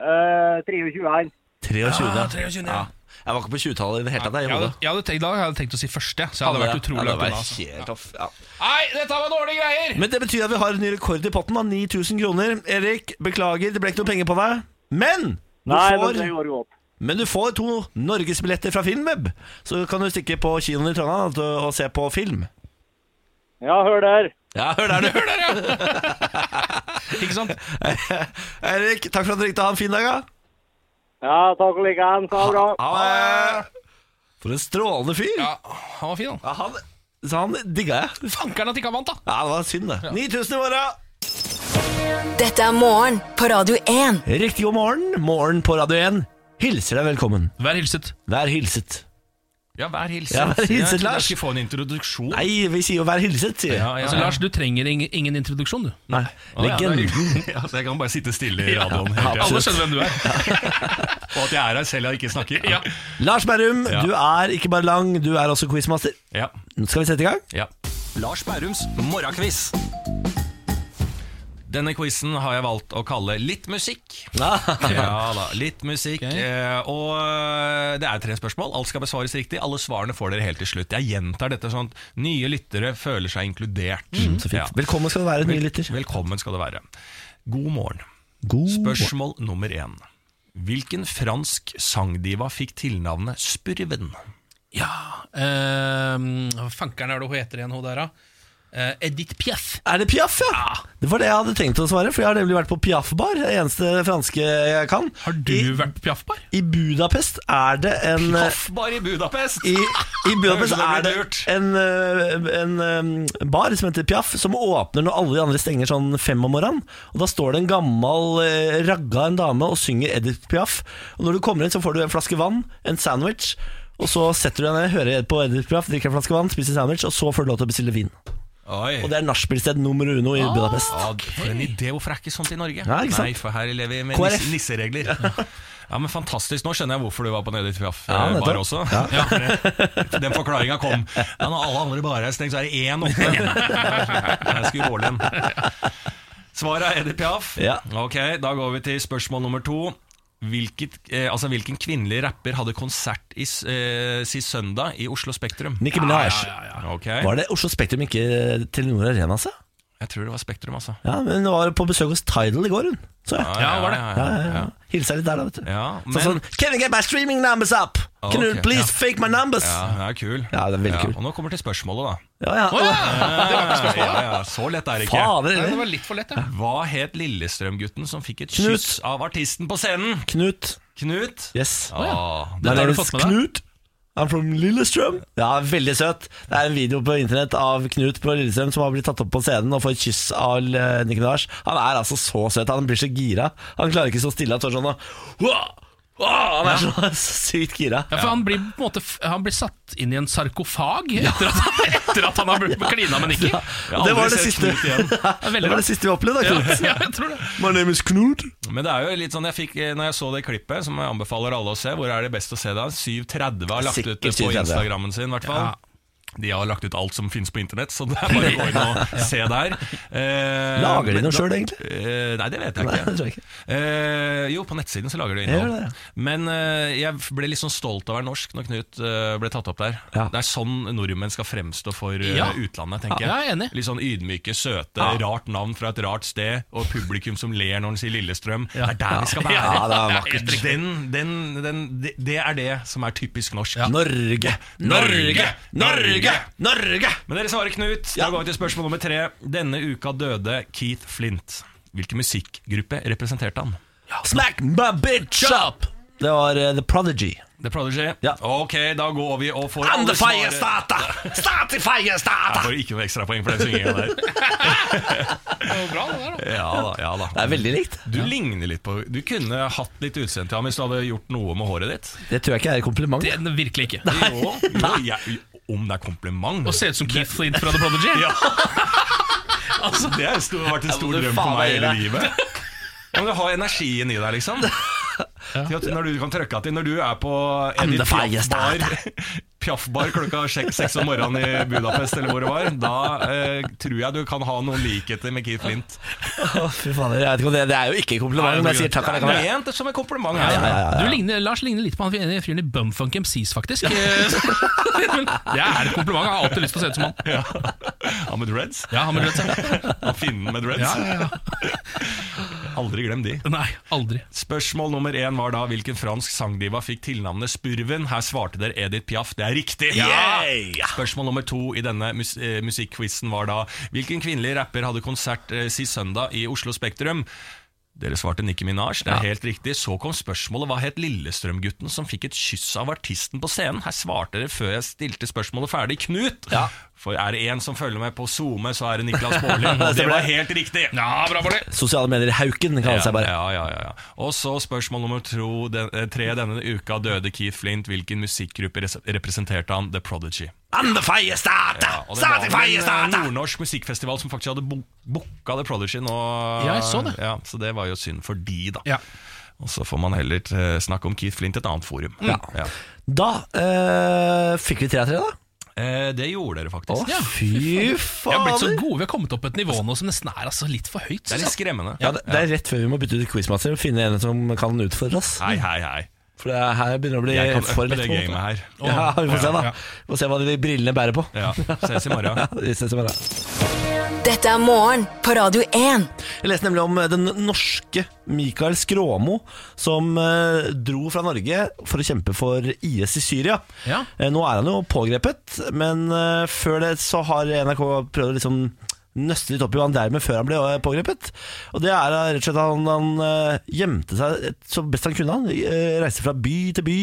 Speaker 8: Eh, 23 her.
Speaker 1: 23
Speaker 2: Ja, 23, ja.
Speaker 1: Jeg var ikke på 20-tallet i det hele tatt jeg, i
Speaker 2: Jeg hadde,
Speaker 1: hodet.
Speaker 2: jeg hadde tenkt, I dag hadde jeg tenkt å si første, så jeg hadde vært utrolig
Speaker 1: ja, det
Speaker 2: langt
Speaker 1: var
Speaker 2: unna. altså.
Speaker 1: helt off ja.
Speaker 2: Nei, dette var dårlige greier!
Speaker 1: Men det betyr at vi har en ny rekord i potten av 9000 kroner Erik, beklager, det ble ikke noe penger på deg Men du
Speaker 8: Nei, men det
Speaker 1: får,
Speaker 8: går godt.
Speaker 1: men du får to Norgesbilletter fra Filmweb Så kan du stikke på kinoen i Trondheim og, og se på film
Speaker 8: Ja, hør der.
Speaker 1: Ja, hør der du
Speaker 2: Ikke sant?
Speaker 1: Erik, takk for at du ringte, ha en fin dag ja.
Speaker 8: Ja, takk og likeens. Ha det bra.
Speaker 1: Ha det For en strålende fyr
Speaker 2: Ja, Han var fin, han.
Speaker 1: Ja, han, så han digga jeg
Speaker 2: Fankeren at ikke han vant, da!
Speaker 1: Ja, det var synd det 9000 i morgen
Speaker 5: Dette er morgen på Radio 1.
Speaker 1: Riktig god morgen, morgen på Radio 1 Hilser deg velkommen,
Speaker 2: Vær hilset.
Speaker 1: vær hilset
Speaker 2: Ja, vær hilset.
Speaker 1: Ja, vær hilset,
Speaker 2: Jeg trodde
Speaker 1: Lars.
Speaker 2: Jeg skulle få en introduksjon.
Speaker 1: Nei, vi sier jo vær hilset, sier jeg
Speaker 2: Ja, ja, altså, Lars, du trenger ing- ingen introduksjon, du.
Speaker 1: Nei, legenden
Speaker 3: Altså, jeg kan bare sitte stille i radioen. hele tiden.
Speaker 2: Alle skjønner hvem du er.
Speaker 3: Og at jeg er her selv og ikke snakker. Ja.
Speaker 1: Lars Berrum, du er ikke bare lang, du er også quizmaster
Speaker 3: Ja.
Speaker 1: Nå Skal vi sette i gang?
Speaker 3: ja. Lars Bærums morgenquiz. Denne quizen har jeg valgt å kalle Litt musikk. Ja da, litt musikk. Eh, og eh, det er tre spørsmål. Alt skal besvares riktig. Alle svarene får dere helt til slutt. Jeg gjentar dette sånn at nye lyttere føler seg inkludert.
Speaker 1: Så fint.
Speaker 3: Ja.
Speaker 1: Velkommen skal du være, nye lytter
Speaker 3: Velkommen skal det være. God morgen.
Speaker 1: God
Speaker 3: Spørsmål nummer én. Hvilken fransk sangdiva fikk tilnavnet Spurven?
Speaker 2: Ja ehm, Fankeren er det hun heter igjen, hun der, da. Eh, Edith Piaf.
Speaker 1: Er det Piaf, ja? Det var det jeg hadde tenkt å svare For jeg har nemlig vært på Piaf-bar Det eneste franske jeg kan
Speaker 2: Har du vært på Piaf-bar?
Speaker 1: I Budapest er det en
Speaker 3: Hoffbar i Budapest!
Speaker 1: I, i Budapest
Speaker 3: Det blir
Speaker 1: er det
Speaker 3: dyrt.
Speaker 1: en, eh, en eh, bar som heter Piaf, som åpner når alle de andre stenger sånn fem om morgenen. Og Da står det en gammel eh, ragga en dame og synger Edith Piaf. Og Når du kommer inn, så får du en flaske vann, en sandwich. Og Så setter du deg ned, hører på Edith Piaf, drikker en flaske vann, spiser sandwich, og så får du lov til å bestille vin.
Speaker 3: Oi.
Speaker 1: Og Det er nachspielsted nummer uno i Budapest.
Speaker 3: Ja, for en idé. Hvorfor er ikke sånt i Norge?
Speaker 1: Nei, ikke sant?
Speaker 3: for her lever vi med
Speaker 1: KrF.
Speaker 3: nisse, nisseregler.
Speaker 8: Ja, men Fantastisk. Nå skjønner jeg hvorfor du var på Nedi Traff
Speaker 1: Ja,
Speaker 8: eh,
Speaker 1: nettopp.
Speaker 8: bar også.
Speaker 1: Ja.
Speaker 8: Ja, for det- Den forklaringa kom. Ja, når alle andre barer er stengt, så er det én oppe. Jeg skulle gå den. Svaret er Edith Piaf.
Speaker 1: Ja.
Speaker 8: Ok, Da går vi til spørsmål nummer to. Hvilket, eh, altså, hvilken kvinnelig rapper hadde konsert i, s- eh, sist søndag i Oslo Spektrum?
Speaker 1: Nicki Minaj.
Speaker 8: Ok,
Speaker 1: Var det Oslo Spektrum, ikke Telenor Arena? Altså?
Speaker 8: Jeg tror det var Spektrum, altså.
Speaker 1: Ja, men hun var på besøk hos Tidal i går, hun. Så jeg.
Speaker 8: Ja, var det?
Speaker 1: Ja, ja, ja. Hilsa litt der, da, vet du.
Speaker 8: Ja,
Speaker 1: Så sånn, Can you get my streaming numbers up? Can you
Speaker 8: Ah, Ok,
Speaker 1: please
Speaker 8: ja.
Speaker 1: fake my numbers?
Speaker 8: Ja, det er kul.
Speaker 1: Ja, det er veldig kul.
Speaker 8: Og nå kommer til spørsmålet, da.
Speaker 1: Ja, ja.
Speaker 8: Ja, ja, ja. Så lett er det ikke.
Speaker 1: Fader,
Speaker 2: Nei, det
Speaker 1: eller?
Speaker 2: var litt for lett, ja.
Speaker 8: Hva het Lillestrøm-gutten som fikk et
Speaker 1: Knut.
Speaker 8: kyss av artisten på scenen?
Speaker 1: Knut.
Speaker 8: Knut?
Speaker 1: Yes.
Speaker 8: Ah,
Speaker 1: My
Speaker 8: det-
Speaker 2: har
Speaker 1: name
Speaker 2: du
Speaker 1: is
Speaker 2: fått med deg.
Speaker 1: Knut. I'm from Lillestrøm. Ja, veldig søt. Det er en video på internett av Knut på Lillestrøm som har blitt tatt opp på scenen og får et kyss av eh, Nicki Minaj. Han er altså så søt. Han blir så gira. Han klarer ikke å stå stille. Han står sånn og Wah! Wah! Han er så, så sykt gira.
Speaker 2: Ja, for han blir på en måte f- Han blir satt inn i en sarkofag etter at han, etter at han har blitt klina med Nikki.
Speaker 8: jeg har
Speaker 1: Og det var
Speaker 8: aldri
Speaker 1: det
Speaker 8: sett
Speaker 1: siste.
Speaker 8: Knut igjen.
Speaker 1: Det var det siste vi opplevde, da, Knut.
Speaker 2: Ja, jeg tror det.
Speaker 1: My name is Knut.
Speaker 8: Men det er jo litt sånn jeg fikk eh, Når jeg så det klippet, som jeg anbefaler alle å se, hvor er det best å se det? 730 har lagt ut
Speaker 1: Sikkert
Speaker 8: det på
Speaker 1: 7.30, ja.
Speaker 8: Instagrammen sin, i hvert fall. De har lagt ut alt som finnes på internett, så det er bare å gå inn og se der. Eh,
Speaker 1: Lager de
Speaker 8: men
Speaker 1: noe
Speaker 8: da-
Speaker 1: sjøl, egentlig?
Speaker 8: Eh, nei, det vet jeg
Speaker 1: Nei, det tror
Speaker 8: ikke.
Speaker 1: jeg ikke.
Speaker 8: Eh, jo, på nettsiden så lager du
Speaker 1: gjør
Speaker 8: innhold.
Speaker 1: det, ja.
Speaker 8: Men eh, jeg ble litt sånn stolt av å være norsk når Knut eh, ble tatt opp der.
Speaker 1: Ja.
Speaker 8: Det er sånn nordmenn skal fremstå for eh,
Speaker 2: Ja.
Speaker 8: utlandet, tenker
Speaker 2: Ja, jeg er enig.
Speaker 8: Litt sånn ydmyke, søte, rart navn fra et rart sted, og publikum som ler når han sier Lillestrøm. Det er der vi skal være!
Speaker 1: Ja, det er vakkert.
Speaker 8: Den, den, den, det, det er det som er typisk norsk.
Speaker 1: Norge, Norge, Norge, Norge!
Speaker 8: Men dere svarer Knut. Da går vi til spørsmål nummer tre. Denne uka døde Keith Flint. Hvilken musikkgruppe representerte han?
Speaker 1: Smack my bitch up! Det var eh, The Prodigy.
Speaker 8: The Prodigy?
Speaker 1: Ja.
Speaker 8: Ok, da går vi og får
Speaker 1: I'm the
Speaker 8: alle
Speaker 1: fire
Speaker 8: svaret.
Speaker 1: starter! Start the fire
Speaker 8: Jeg
Speaker 1: starter!
Speaker 8: får ikke noe ekstrapoeng for den synginga der.
Speaker 2: Det var bra, det der, da.
Speaker 8: Ja da, ja da.
Speaker 1: Det er veldig likt.
Speaker 8: Du ligner litt på Du kunne hatt litt utseende til ham hvis du hadde gjort noe med håret ditt.
Speaker 1: Det tror jeg ikke er et kompliment.
Speaker 2: Det, det, virkelig ikke.
Speaker 8: Jo, jo jeg, om det er kompliment.
Speaker 2: Å se ut som Keith Flint fra The Prodigy.
Speaker 8: Ja. altså. det har stor- vært en stor
Speaker 1: Ja, men du
Speaker 8: drøm for
Speaker 1: faen
Speaker 8: meg
Speaker 1: i
Speaker 8: hele
Speaker 1: det.
Speaker 8: livet. Ja, men Du har energien i deg, liksom. Til at når du kan trøkke til Når du er på Edith
Speaker 1: the finest
Speaker 8: Piaf-bar Piaf-bar klokka sjek- seks om morgenen i Budapest, eller hvor det var, da eh, tror jeg du kan ha noen likheter med Keith Flint.
Speaker 1: Å, fy fader, jeg vet ikke om det, det er jo ikke et kompliment, men jeg sier takk.
Speaker 8: Det er ment som en kompliment. her.
Speaker 2: Du ligner, Lars ligner litt på han fyren- fyren i Bumfunk MCs, faktisk. Men det er et kompliment. Jeg har alltid lyst til å se ut som han.
Speaker 8: Ja. Han med dreads?
Speaker 2: Ja, han med dreads, ja.
Speaker 8: Han finnen med dreads?
Speaker 2: Ja, ja,
Speaker 8: Aldri glem de.
Speaker 2: Nei, aldri.
Speaker 8: Spørsmål nummer én var da hvilken fransk sangdiva fikk tilnavnet Spurven. Her svarte dere Edith Piaf. Det er riktig!
Speaker 1: Yeah!
Speaker 8: Spørsmål nummer to i denne mus eh, musikkquizen var da hvilken kvinnelig rapper hadde konsert eh, sist søndag i Oslo Spektrum? Dere svarte Nicki Minaj, det er helt riktig. Så kom spørsmålet hva het Lillestrøm-gutten som fikk et kyss av artisten på scenen? Her svarte dere før jeg stilte spørsmålet ferdig, Knut! For er det én som følger med på SoMe, så er det Niklas Baarli. Og det var helt riktig!
Speaker 2: Ja, bra for det.
Speaker 1: Sosiale medier i hauken kaller det
Speaker 8: Ja,
Speaker 1: seg bare.
Speaker 8: ja, ja, ja, ja. Og så spørsmål nummer tro, den, eh, tre denne uka døde Keith Flint. Hvilken musikkgruppe res representerte han? The Prodigy.
Speaker 1: I'm the fire starter!
Speaker 8: Ja, og det
Speaker 1: Start the
Speaker 8: var
Speaker 1: fire
Speaker 8: vel en eh,
Speaker 1: starter!
Speaker 8: nordnorsk musikkfestival som faktisk hadde bo- booka The Prodigy nå.
Speaker 2: Ja, jeg så det.
Speaker 8: Ja, så det var jo synd for de, da.
Speaker 2: Ja.
Speaker 8: Og så får man heller eh, snakke om Keith Flint i et annet forum. Ja.
Speaker 1: Da eh, fikk vi tre av tre, da.
Speaker 8: Eh, det gjorde dere faktisk.
Speaker 1: Å, fy
Speaker 2: Vi har blitt så
Speaker 1: fader!
Speaker 2: gode. Vi har kommet opp på et nivå nå som nesten er altså, litt for høyt.
Speaker 8: Det er
Speaker 2: synes
Speaker 8: litt
Speaker 2: jeg.
Speaker 8: skremmende.
Speaker 1: Ja, det, det er rett før vi må bytte ut quizmaster og finne en som kan utfordre oss.
Speaker 8: Hei, hei, hei.
Speaker 1: For det er- her begynner det å bli
Speaker 8: Jeg kan
Speaker 1: for
Speaker 8: uppe det
Speaker 1: lett. på en
Speaker 8: gamet
Speaker 1: måte.
Speaker 8: her.
Speaker 1: Ja, vi får se,
Speaker 2: Ja, ja.
Speaker 1: da. Vi får se hva de brillene bærer på.
Speaker 8: Ja, Ses i morgen.
Speaker 1: Ja, vi ses i morgen.
Speaker 5: Dette er morgen på Radio 1.
Speaker 1: Jeg leste nemlig om eh, den norske Mikael Skråmo, som eh, dro fra Norge for å kjempe for IS i Syria.
Speaker 2: Ja.
Speaker 1: Eh, nå er han jo pågrepet, men eh, før det så har NRK prøvd å liksom nøste litt opp i hva han drev med før han ble eh, pågrepet. Og det er eh, rett og slett at han, han eh, gjemte seg et- så best han kunne. Han eh, reiste fra by til by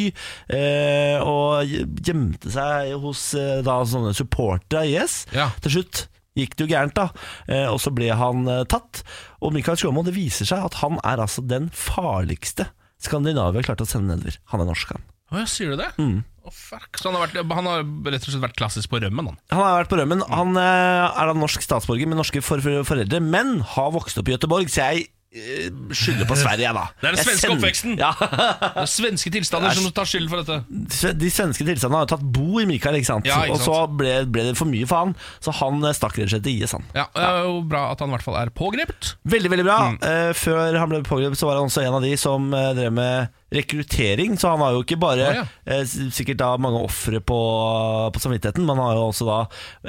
Speaker 1: eh, og gjemte seg hos eh, da sånne supportere av IS.
Speaker 2: Ja.
Speaker 1: Til slutt gikk det jo gærent, da. Eh, og så ble han eh, tatt. Og Mikael Skjåmo, det viser seg at han er altså den farligste Skandinavia klarte å sende nedover. Han er norsk, han.
Speaker 2: Å, ja, sier du det?
Speaker 1: Mm.
Speaker 2: Å, fuck. Så han har, vært, han har rett og slett vært klassisk på rømmen, han.
Speaker 1: Han har vært på
Speaker 2: Mm.
Speaker 1: rømmen. Han eh, er da norsk statsborger med norske for for foreldre, men har vokst opp i Gøteborg, så jeg eh, skylder på Sverige, jeg, da.
Speaker 2: Det er den
Speaker 1: Jeg
Speaker 2: svenske
Speaker 1: sender-
Speaker 2: oppveksten!
Speaker 1: Ja.
Speaker 2: Det er svenske tilstander som tar skylden for dette.
Speaker 1: Sve- De svenske tilstandene har jo tatt bo i Mikael, ikke sant?
Speaker 2: Ja, ikke
Speaker 1: og så ble, ble det for mye for han, så han eh, stakk rett og slett til IS, han.
Speaker 2: Ja, Det er jo bra at han i hvert fall er pågrepet.
Speaker 1: Veldig, veldig bra.
Speaker 2: Mm.
Speaker 1: Eh, før han ble pågrepet, så var han også en av de som eh, drev med rekruttering. Så han har jo ikke bare
Speaker 2: Å, ja.
Speaker 1: eh, s- sikkert da mange ofre på, på samvittigheten, men han har jo også da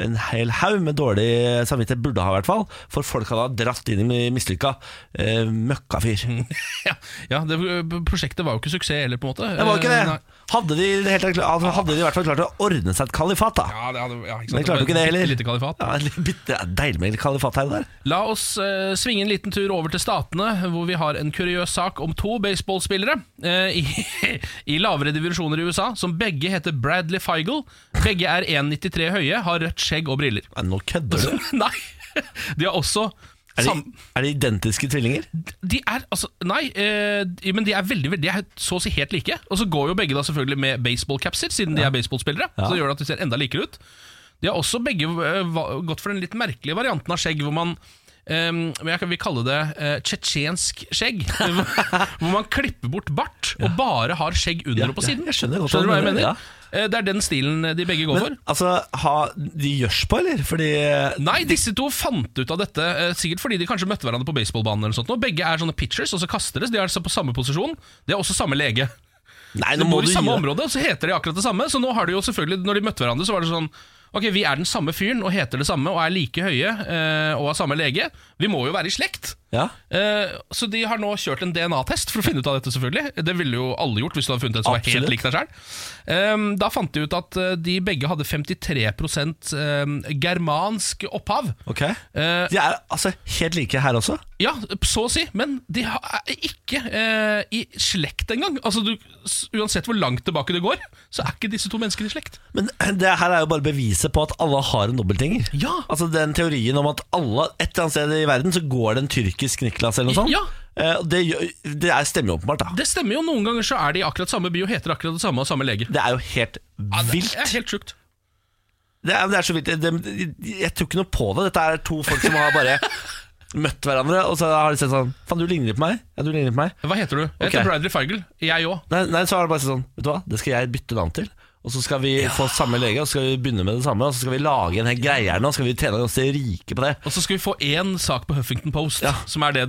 Speaker 1: en hel haug med dårlig samvittighet, burde ha i hvert fall, for folk har da dratt inn i mislykka eh, møkkafyr.
Speaker 2: Mm. Ja, ja det, Prosjektet var jo ikke suksess heller, på en måte.
Speaker 1: Det var jo ikke
Speaker 2: Eh, nei.
Speaker 1: det. Hadde de, i det hele tatt kla- altså, hadde de i hvert fall klart å ordne seg et kalifat, da.
Speaker 2: Ja, det hadde, ja, ikke sant?
Speaker 1: Men de klarte jo ikke det heller.
Speaker 2: Bitte lite kalifat.
Speaker 1: Ja, litt- bitte- det er Deilig med litt kalifat her og der.
Speaker 2: La oss eh, svinge en liten tur over til Statene, hvor vi har en kuriøs sak om to baseballspillere eh, i, i lavere divisjoner i USA, som begge heter Bradley Feigel. Begge er 1,93 høye, har rødt skjegg og briller.
Speaker 1: Nei, nå kødder du.
Speaker 2: Nei! De har også
Speaker 1: Er de,
Speaker 2: Altså, sam...
Speaker 1: er de identiske tvillinger?
Speaker 2: De er altså Nei, eh, de- men de er veldig, veldig De er så å si helt like. Og så går jo begge da selvfølgelig med baseballcapser, siden de er baseballspillere. Så det gjør det at de ser enda likere ut. De har også begge eh, va- gått for den litt merkelige varianten av skjegg, hvor man eh, men jeg kan, Vi kaller det eh, tsjetsjensk skjegg. hvor man klipper bort bart og bare har skjegg under
Speaker 1: Ja,
Speaker 2: og på
Speaker 1: ja,
Speaker 2: siden.
Speaker 1: jeg skjønner godt
Speaker 2: du hva jeg
Speaker 1: hva du-
Speaker 2: mener?
Speaker 1: ja.
Speaker 2: Eh, det er den stilen de begge går
Speaker 1: Men
Speaker 2: for.
Speaker 1: altså, ha, de gjørs på, eller? Fordi
Speaker 2: Nei, disse to fant ut av dette eh, sikkert fordi de kanskje møtte hverandre på baseballbanen. eller noe sånt nå. Begge er sånne pitchers, og så kaster de. så De er altså på samme posisjon. De er også samme lege.
Speaker 1: Nei,
Speaker 2: De bor i samme
Speaker 1: gi-
Speaker 2: område, og så heter de akkurat det samme. Så nå har de jo selvfølgelig, når de møtte hverandre, så var det sånn Ok, vi er den samme fyren og heter det samme og er like høye eh, og har samme lege. Vi må jo være i slekt.
Speaker 1: Ja.
Speaker 2: Eh, så de har nå kjørt en DNA-test for å finne ut av dette, selvfølgelig. Det ville jo alle gjort hvis du hadde funnet en som var
Speaker 1: Absolutt.
Speaker 2: helt lik deg selv Ehm, da fant de ut at eh, de begge hadde 53 ehm, germansk opphav.
Speaker 1: Ok.
Speaker 2: Eh,
Speaker 1: De er altså helt like her også.
Speaker 2: ja, så å si, men de ha- er ikke eh, i slekt engang. Altså, du, s- uansett hvor langt tilbake det går, så er ikke disse to menneskene i slekt.
Speaker 1: Men eh, det her er jo bare beviset på at alle har en dobbeltgjenger.
Speaker 2: Ja.
Speaker 1: Altså den teorien om at alle et eller annet sted i verden så går det en tyrkisk Niklas eller noe sånt.
Speaker 2: Ja.
Speaker 1: Eh, og Det, gjør- det er, stemmer jo åpenbart, da.
Speaker 2: Det stemmer jo, noen ganger så er de i akkurat samme by og heter akkurat det samme og samme lege.
Speaker 1: Det er jo helt
Speaker 2: Ja, det
Speaker 1: vilt.
Speaker 2: er helt sjukt.
Speaker 1: Det er, det er så vilt det, det- Jeg tror ikke noe på det Dette er to folk som har bare møtt hverandre Og så har de sett sånn Fan, du ligner litt på meg Ja, du ligner litt på meg
Speaker 2: Hva heter du? Jeg
Speaker 1: Ok.
Speaker 2: heter Bradley Feigel. Jeg òg.
Speaker 1: Nei, nei så har de bare sett sånn Vet du hva, det skal jeg bytte navn til Og så skal vi få samme lege Og så skal vi begynne med det samme Og så skal vi lage en hel greie her nå Og så skal vi tjene oss til rike på det
Speaker 2: Og så skal vi få én sak på Huffington Post, som er det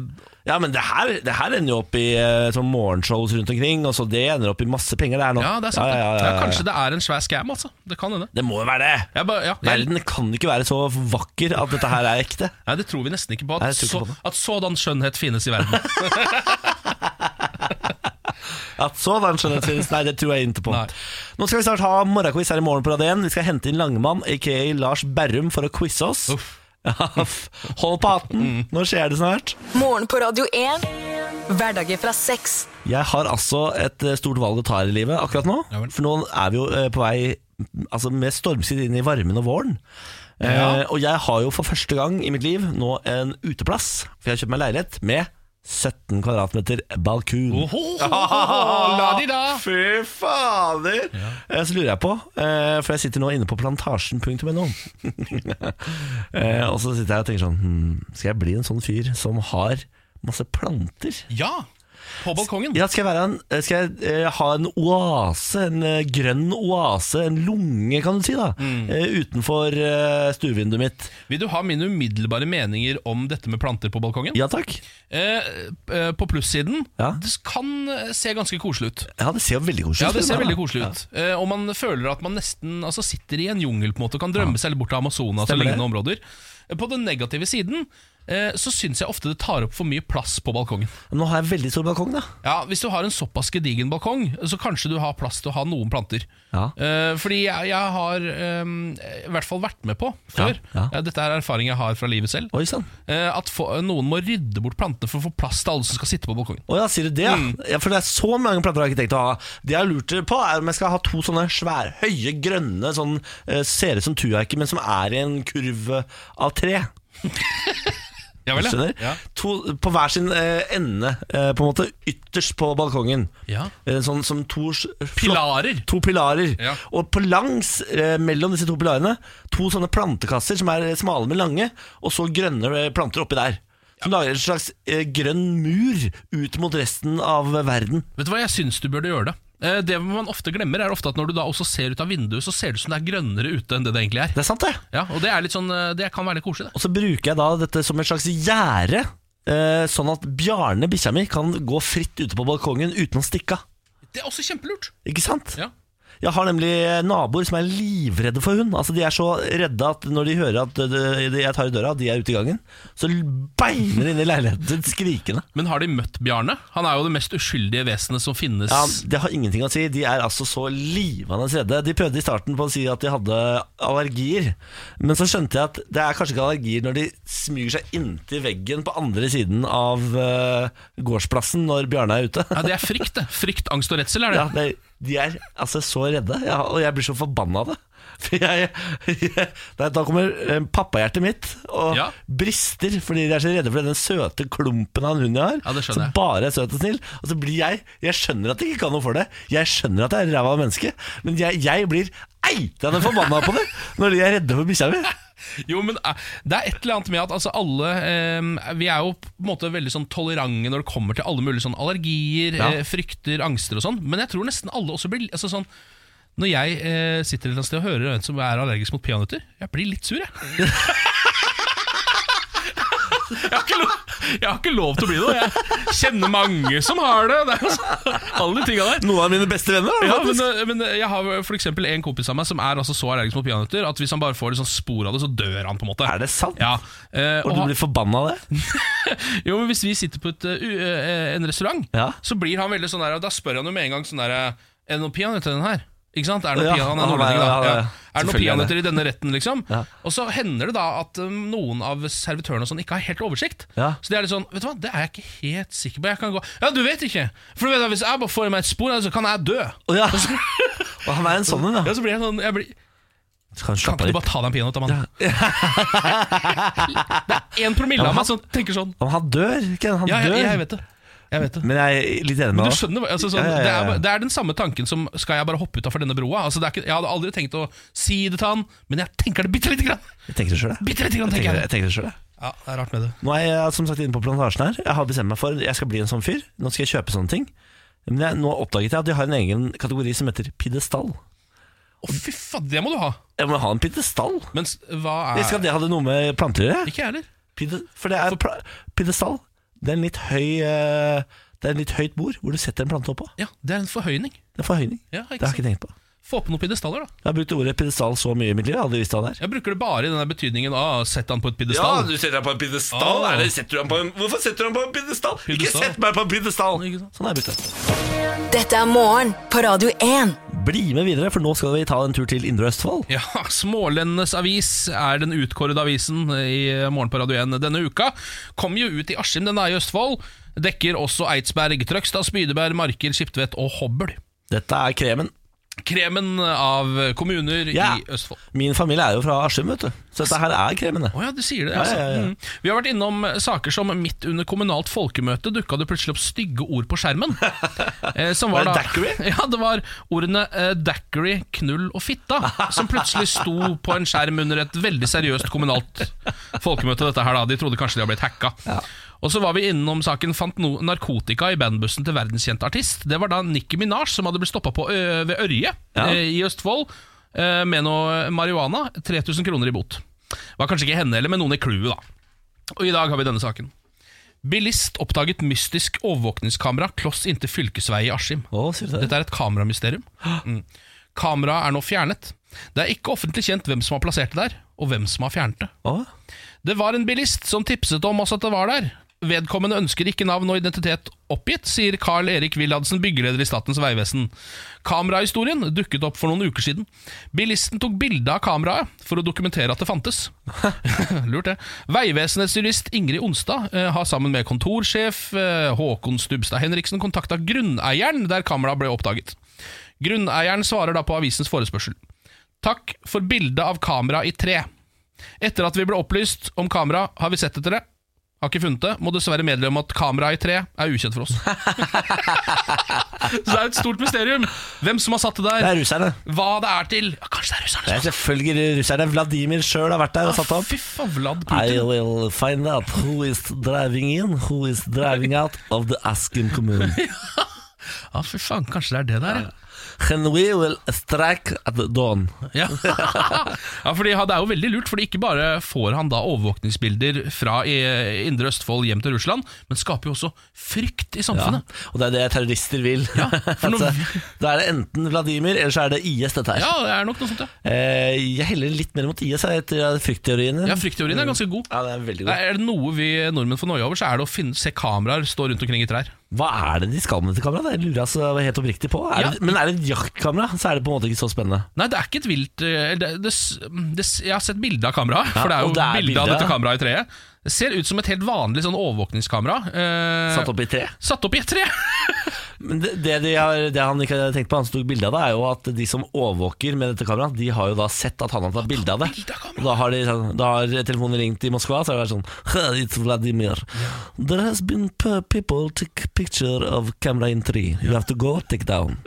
Speaker 1: Ja, men det her, det her ender jo opp i eh, Sånn morgenshows rundt omkring Og så det ender opp i masse penger det her nå
Speaker 2: Ja, det er sant. det.
Speaker 1: ja, ja, ja,
Speaker 2: Ja,
Speaker 1: ja.
Speaker 2: kanskje det er en svær scam, altså. Det kan hende.
Speaker 1: Det må jo være det
Speaker 2: Jeg bare, ja, jeg,
Speaker 1: Verden kan ikke være så vakker At dette her er ekte
Speaker 2: nei, det tror vi nesten ikke på.
Speaker 1: Nei,
Speaker 2: At,
Speaker 1: jeg tror ikke
Speaker 2: så,
Speaker 1: på det.
Speaker 2: at sådan skjønnhet finnes i verden.
Speaker 1: At så var en skjønnhetsvits. Nei, det tror jeg ikke på.
Speaker 2: Nei.
Speaker 1: Nå skal vi snart ha morgenquiz her i morgen på Radio 1. Vi skal hente inn Langemann, aka Lars Berrum, for å quize oss. Ja, f- Hold på hatten,
Speaker 2: Mm.
Speaker 1: nå skjer det snart.
Speaker 5: Morgen på Radio 1. Hverdager fra seks.
Speaker 1: Jeg har altså et eh, stort valg å ta her i livet akkurat nå.
Speaker 2: Ja vel.
Speaker 1: For nå er vi jo eh, på vei mm, altså med stormskritt inn i varmen og våren. Eh, og jeg har jo for første gang i mitt liv nå en uteplass, for jeg har kjøpt meg leilighet med 17 kvadratmeter balkon.
Speaker 2: Oh. La de da!
Speaker 1: Fy fader! Eh, Så lurer jeg på, eh, for jeg sitter nå inne på plantasjen.no. Eh, og så sitter jeg og tenker sånn hmm, Skal jeg bli en sånn fyr som har masse planter?
Speaker 2: Ja! På balkongen.
Speaker 1: Ja, skal jeg, være en, eh, skal jeg eh, ha en oase, en eh, grønn oase, en lunge, kan du si, da,
Speaker 2: Mm.
Speaker 1: eh, utenfor eh, stuevinduet mitt?
Speaker 2: Vil du ha mine umiddelbare meninger om dette med planter på balkongen?
Speaker 1: Ja takk.
Speaker 2: Eh, eh, på plussiden
Speaker 1: Ja.
Speaker 2: Det kan eh, se ganske koselig ut.
Speaker 1: Ja, det ser jo veldig koselig
Speaker 2: Ja, det ser
Speaker 1: da.
Speaker 2: veldig koselig ut. Eh, og man føler at man nesten altså, sitter i en jungel på en måte og kan drømme seg litt bort til Amazonas og
Speaker 1: Stemmer det.
Speaker 2: lignende områder. Eh, På den negative siden eh, så syns jeg ofte det tar opp for mye plass på balkongen.
Speaker 1: Ja. Nå har jeg veldig stor balkong, da.
Speaker 2: Ja, Hvis du har en såpass gedigen balkong, så kanskje du har plass til å ha noen planter.
Speaker 1: Ja.
Speaker 2: Eh, fordi jeg, jeg har eh, i hvert fall vært med på før,
Speaker 1: Ja, ja.
Speaker 2: Eh, dette er erfaring jeg har fra livet selv,
Speaker 1: Oi sann.
Speaker 2: eh, at få- noen må rydde bort plantene for å få plass til alle som skal sitte på balkongen.
Speaker 1: Å ja, sier du det? ja?
Speaker 2: Mm.
Speaker 1: Ja, for det er så mange planter jeg har ikke tenkt å ha. Det jeg har lurt på, er om jeg skal ha to sånne svære, høye, grønne, sånn, eh, ser ut som tujaker, men som er i en kurv av tre.
Speaker 2: Ja vel, ja.
Speaker 1: Skjønner? To, på hver sin eh, ende, eh, på en måte ytterst på balkongen.
Speaker 2: Ja.
Speaker 1: Eh, sånn som to s- flott-
Speaker 2: Pilarer.
Speaker 1: To pilarer.
Speaker 2: Ja.
Speaker 1: Og på langs eh, mellom disse to pilarene, to sånne plantekasser som er smale, men lange, og så grønne eh, planter oppi der. Som lager en slags eh, grønn mur ut mot resten av verden.
Speaker 2: Vet du hva, jeg syns du burde gjøre det. Eh, Det man ofte glemmer, er ofte at når du da også ser ut av vinduet, så ser det ut som det er grønnere ute enn det det egentlig er.
Speaker 1: Det er sant, det.
Speaker 2: Ja, og det, er litt sånn, eh, det kan være litt koselig, det.
Speaker 1: Og så bruker jeg da dette som en slags gjerde, eh, sånn at Bjarne, bikkja mi, kan gå fritt ute på balkongen uten å stikke av.
Speaker 2: Det er også kjempelurt.
Speaker 1: Ikke sant?
Speaker 2: Ja.
Speaker 1: Jeg har nemlig eh, naboer som er livredde for hund. Altså De er så redde at når de hører at øh, jeg tar i døra, de er ute i gangen, så beiner de inn i leiligheten skrikende.
Speaker 2: Men har de møtt Bjarne? Han er jo det mest uskyldige vesenet som finnes.
Speaker 1: Ja, Det har ingenting å si. De er altså så livende redde. De prøvde i starten på å si at de hadde allergier, men så skjønte jeg at det er kanskje ikke allergier når de smyger seg inntil veggen på andre siden av øh, gårdsplassen når Bjarne er ute.
Speaker 2: Ja, det er frykt, det. Frykt, angst og redsel er det.
Speaker 1: Ja, det, de er altså så redde, ja, og jeg blir så forbanna av det. For jeg, jeg, nei, da kommer eh, pappahjertet mitt og
Speaker 2: Ja.
Speaker 1: brister fordi de er så redde for den søte klumpen av en hund jeg har.
Speaker 2: Ja, det skjønner
Speaker 1: som
Speaker 2: jeg.
Speaker 1: bare er søt og snill. Og så blir jeg Jeg skjønner at jeg ikke kan noe for det. Jeg skjønner at jeg er ræva av menneske, men jeg, jeg blir eitende forbanna på det når de er redde for bikkja mi.
Speaker 2: Jo, men eh, det er et eller annet med at altså, alle eh, Vi er jo på en måte veldig sånn tolerante når det kommer til alle mulige sånn allergier,
Speaker 1: Ja.
Speaker 2: eh, frykter, angster og sånn, men jeg tror nesten alle også blir altså, sånn når jeg eh, sitter et eller annet sted og hører en som er allergisk mot peanøtter, jeg blir litt sur, jeg. jeg, har ikke lov, jeg har ikke lov til å bli det. og Jeg kjenner mange som har det. det er jo så, alle de tinga der.
Speaker 1: Noen av mine beste venner. da,
Speaker 2: Ja,
Speaker 1: faktisk.
Speaker 2: men, eh, men eh, jeg har for eksempel en kompis av meg som er altså så allergisk mot peanøtter at hvis han bare får litt sånn spor av det, så dør han. på en måte
Speaker 1: Er det sant?
Speaker 2: Ja, eh,
Speaker 1: Og
Speaker 2: og
Speaker 1: du
Speaker 2: han,
Speaker 1: blir forbanna av det?
Speaker 2: jo, men Hvis vi sitter på et, eh, u- eh, en restaurant,
Speaker 1: Ja.
Speaker 2: så blir han veldig sånn der Da spør han jo med en gang sånn der eh, Er det noen peanøtter i den her? Ikke sant? Er det noen
Speaker 1: Ja,
Speaker 2: peanøtter- han
Speaker 1: han
Speaker 2: er
Speaker 1: er-
Speaker 2: nordlending,
Speaker 1: han er-
Speaker 2: da? Ja. Er det noen
Speaker 1: selvfølgelig er det.
Speaker 2: peanøtter i denne retten, liksom?
Speaker 1: Ja.
Speaker 2: Og så hender det da at eh, noen av servitørene og sånn ikke har helt oversikt.
Speaker 1: Ja.
Speaker 2: Så de er litt sånn Vet du hva, det er jeg ikke helt sikker på. Jeg kan gå Ja, du vet ikke! For du vet at hvis jeg bare får i meg et spor, så kan jeg dø.
Speaker 1: Å, ja. Og han er en sånn en,
Speaker 2: Ja,
Speaker 1: ja.
Speaker 2: så blir jeg sånn jeg blir,
Speaker 1: Kan du
Speaker 2: Kan
Speaker 1: slappe
Speaker 2: ikke
Speaker 1: av
Speaker 2: du
Speaker 1: litt?
Speaker 2: bare ta deg en peanøtt, da, mann? det er én promille av meg som tenker sånn.
Speaker 1: Men Han dør, Ken. Han
Speaker 2: Ja,
Speaker 1: dør.
Speaker 2: jeg, jeg vet det. Jeg vet det.
Speaker 1: Men jeg er litt enig med
Speaker 2: Men
Speaker 1: deg.
Speaker 2: du skjønner, hva- altså, sånn,
Speaker 1: Ja, ja, ja,
Speaker 2: Det, er,
Speaker 1: ja.
Speaker 2: bare- det er den samme tanken som Skal jeg bare hoppe utafor denne broa? Altså, det er ikke, jeg hadde aldri tenkt å si det til han, men jeg tenker det bitte lite grann!
Speaker 1: Jeg tenker det sjøl, jeg.
Speaker 2: Bitte lite grann,
Speaker 1: Jeg
Speaker 2: tenker
Speaker 1: tenker,
Speaker 2: jeg.
Speaker 1: jeg tenker det selv, jeg.
Speaker 2: Ja, det er rart med det.
Speaker 1: Nå er jeg som sagt inne på plantasjen her. Jeg har bestemt meg for jeg skal bli en sånn fyr. Nå skal jeg kjøpe sånne ting. Men jeg, nå oppdaget jeg at de har en egen kategori som heter pidestall.
Speaker 2: Å, fy faen, det må du ha!
Speaker 1: Jeg må ha en pidestall.
Speaker 2: Men s- hva
Speaker 1: Jeg skal
Speaker 2: er
Speaker 1: det hadde noe med planter å gjøre.
Speaker 2: Ikke altså- jeg heller.
Speaker 1: Pide- For det er pla pidestall. Det er en litt høy eh, Det er en litt høyt bord hvor du setter en plante oppå.
Speaker 2: Ja, det er en forhøyning.
Speaker 1: Det er forhøyning.
Speaker 2: Ja,
Speaker 1: Det har jeg
Speaker 2: ikke sant?
Speaker 1: ikke tenkt på.
Speaker 2: Få på noen pidestaller, da.
Speaker 1: Jeg har brukt ordet pidestall så mye i mitt liv. Jeg har aldri visst hva det er.
Speaker 2: Jeg bruker det bare i den der betydningen av sett han på et pidestall.
Speaker 1: setter deg på en pidestall.
Speaker 2: Eller
Speaker 1: hvorfor setter du deg på en pidestall?
Speaker 2: Ikke Pidestall. sett
Speaker 1: meg på en pidestall!
Speaker 2: Ikke sant?
Speaker 1: Sånn har jeg brukt det.
Speaker 5: Dette er morgen på Radio 1.
Speaker 1: Bli med videre, for nå skal vi ta en tur til Indre Østfold.
Speaker 2: Ja, Smålendenes avis er den utkårede avisen i Morgen på Radio 1 denne uka. Kom jo ut i Askim, den er i Østfold. Dekker også Eidsberg, Trøgstad, Spydeberg, Marker, Skiptvet og Hobøl.
Speaker 1: Dette er kremen.
Speaker 2: Kremen av kommuner
Speaker 1: Ja.
Speaker 2: i Østfold.
Speaker 1: Min familie er jo fra Askim, vet du. Så dette her er kremen, det.
Speaker 2: Å ja, du sier det.
Speaker 1: Ja,
Speaker 2: Altså.
Speaker 1: ja, ja.
Speaker 2: Mm. Vi har vært innom saker som midt under kommunalt folkemøte dukka det plutselig opp stygge ord på skjermen. Eh, som
Speaker 1: Var det
Speaker 2: da-
Speaker 1: daiquiri?
Speaker 2: Ja, det var ordene eh, daiquiri, knull og fitta, som plutselig sto på en skjerm under et veldig seriøst kommunalt folkemøte. Dette her da, De trodde kanskje de hadde blitt hacka. Og så var vi innom saken fant no narkotika i bandbussen til verdenskjent artist. Det var da Nikki Minaj som hadde blitt stoppa ved Ørje
Speaker 1: Ja.
Speaker 2: eh, i Østfold eh, med noe marihuana. 3000 kroner i bot. Var kanskje ikke henne heller, men noen i crewet, da. Og i dag har vi denne saken. Bilist oppdaget mystisk overvåkningskamera kloss inntil fylkesvei i Askim.
Speaker 1: Å, sier du det?
Speaker 2: Dette er et kameramysterium. Mm. Kameraet er nå fjernet. Det er ikke offentlig kjent hvem som har plassert det der, og hvem som har fjernet det.
Speaker 1: Å,
Speaker 2: Det var en bilist som tipset om oss at det var der. Vedkommende ønsker ikke navn og identitet oppgitt, sier Carl Erik Willadsen, byggeleder i Statens vegvesen. Kamerahistorien dukket opp for noen uker siden. Bilisten tok bilde av kameraet for å dokumentere at det fantes. Lurt, det. Vegvesenets jurist Ingrid Onstad eh, har sammen med kontorsjef eh, Håkon Stubstad Henriksen kontakta grunneieren der kameraet ble oppdaget. Grunneieren svarer da på avisens forespørsel. Takk for bildet av kamera i tre. Etter at vi ble opplyst om kamera, har vi sett etter det. Har ikke funnet det. Må dessverre meddele om at kameraet i tre er ukjent for oss. Så det er et stort mysterium hvem som har satt det der.
Speaker 1: Det er russerne.
Speaker 2: Hva det er til. Ja, kanskje det er russerne.
Speaker 1: Det er selvfølgelig russerne. Vladimir sjøl har vært der og satt opp.
Speaker 2: Fy faen, Vlad
Speaker 1: I
Speaker 2: Putin.
Speaker 1: will find out who is driving in, who is driving out of the Askim commune.
Speaker 2: Ja, fy faen, kanskje det er det der, ja.
Speaker 1: And we will strike at dawn.
Speaker 2: Ja, ja fordi han- Det er jo veldig lurt, Fordi ikke bare får han da overvåkningsbilder fra i- Indre Østfold hjem til Russland, men skaper jo også frykt i samfunnet.
Speaker 1: Og det er det terrorister vil.
Speaker 2: for noe-
Speaker 1: Altså, da er det enten Vladimir, eller så er det IS, dette her.
Speaker 2: Ja, det er nok noe sånt, ja.
Speaker 1: Eh, jeg heller litt mer mot IS jeg, etter fryktteoriene.
Speaker 2: ja Fryktteorien er ganske god.
Speaker 1: Ja, det er veldig
Speaker 2: Nei,
Speaker 1: god.
Speaker 2: er det noe vi nordmenn får noia over, så er det å finne, se kameraer stå rundt omkring i trær.
Speaker 1: Hva er det de skal med dette kameraet? Det lurer jeg altså helt oppriktig på. Er
Speaker 2: Ja.
Speaker 1: det, men er det et jaktkamera, så er det på en måte ikke så spennende.
Speaker 2: Nei, det er ikke et vilt eh, det, det, det, Jeg har sett bilde av kameraet,
Speaker 1: Ja,
Speaker 2: for det er jo
Speaker 1: og det er
Speaker 2: bilde
Speaker 1: bilder,
Speaker 2: av dette
Speaker 1: ja.
Speaker 2: kameraet i treet. Det ser ut som et helt vanlig sånn overvåkningskamera. eh,
Speaker 1: Satt opp i tre.
Speaker 2: satt opp i et tre!
Speaker 1: Men det, det, de har, det han ikke har tenkt på, han som tok bilde av det, er jo at de som overvåker med dette kameraet, de har jo da sett at han har tatt bilde av det. Og da har, de, sånn- da har telefonen ringt i Moskva, så har det vært sånn «Huh, It's Vladimir. There has been p- people take picture of camera in three. You have to go, take down.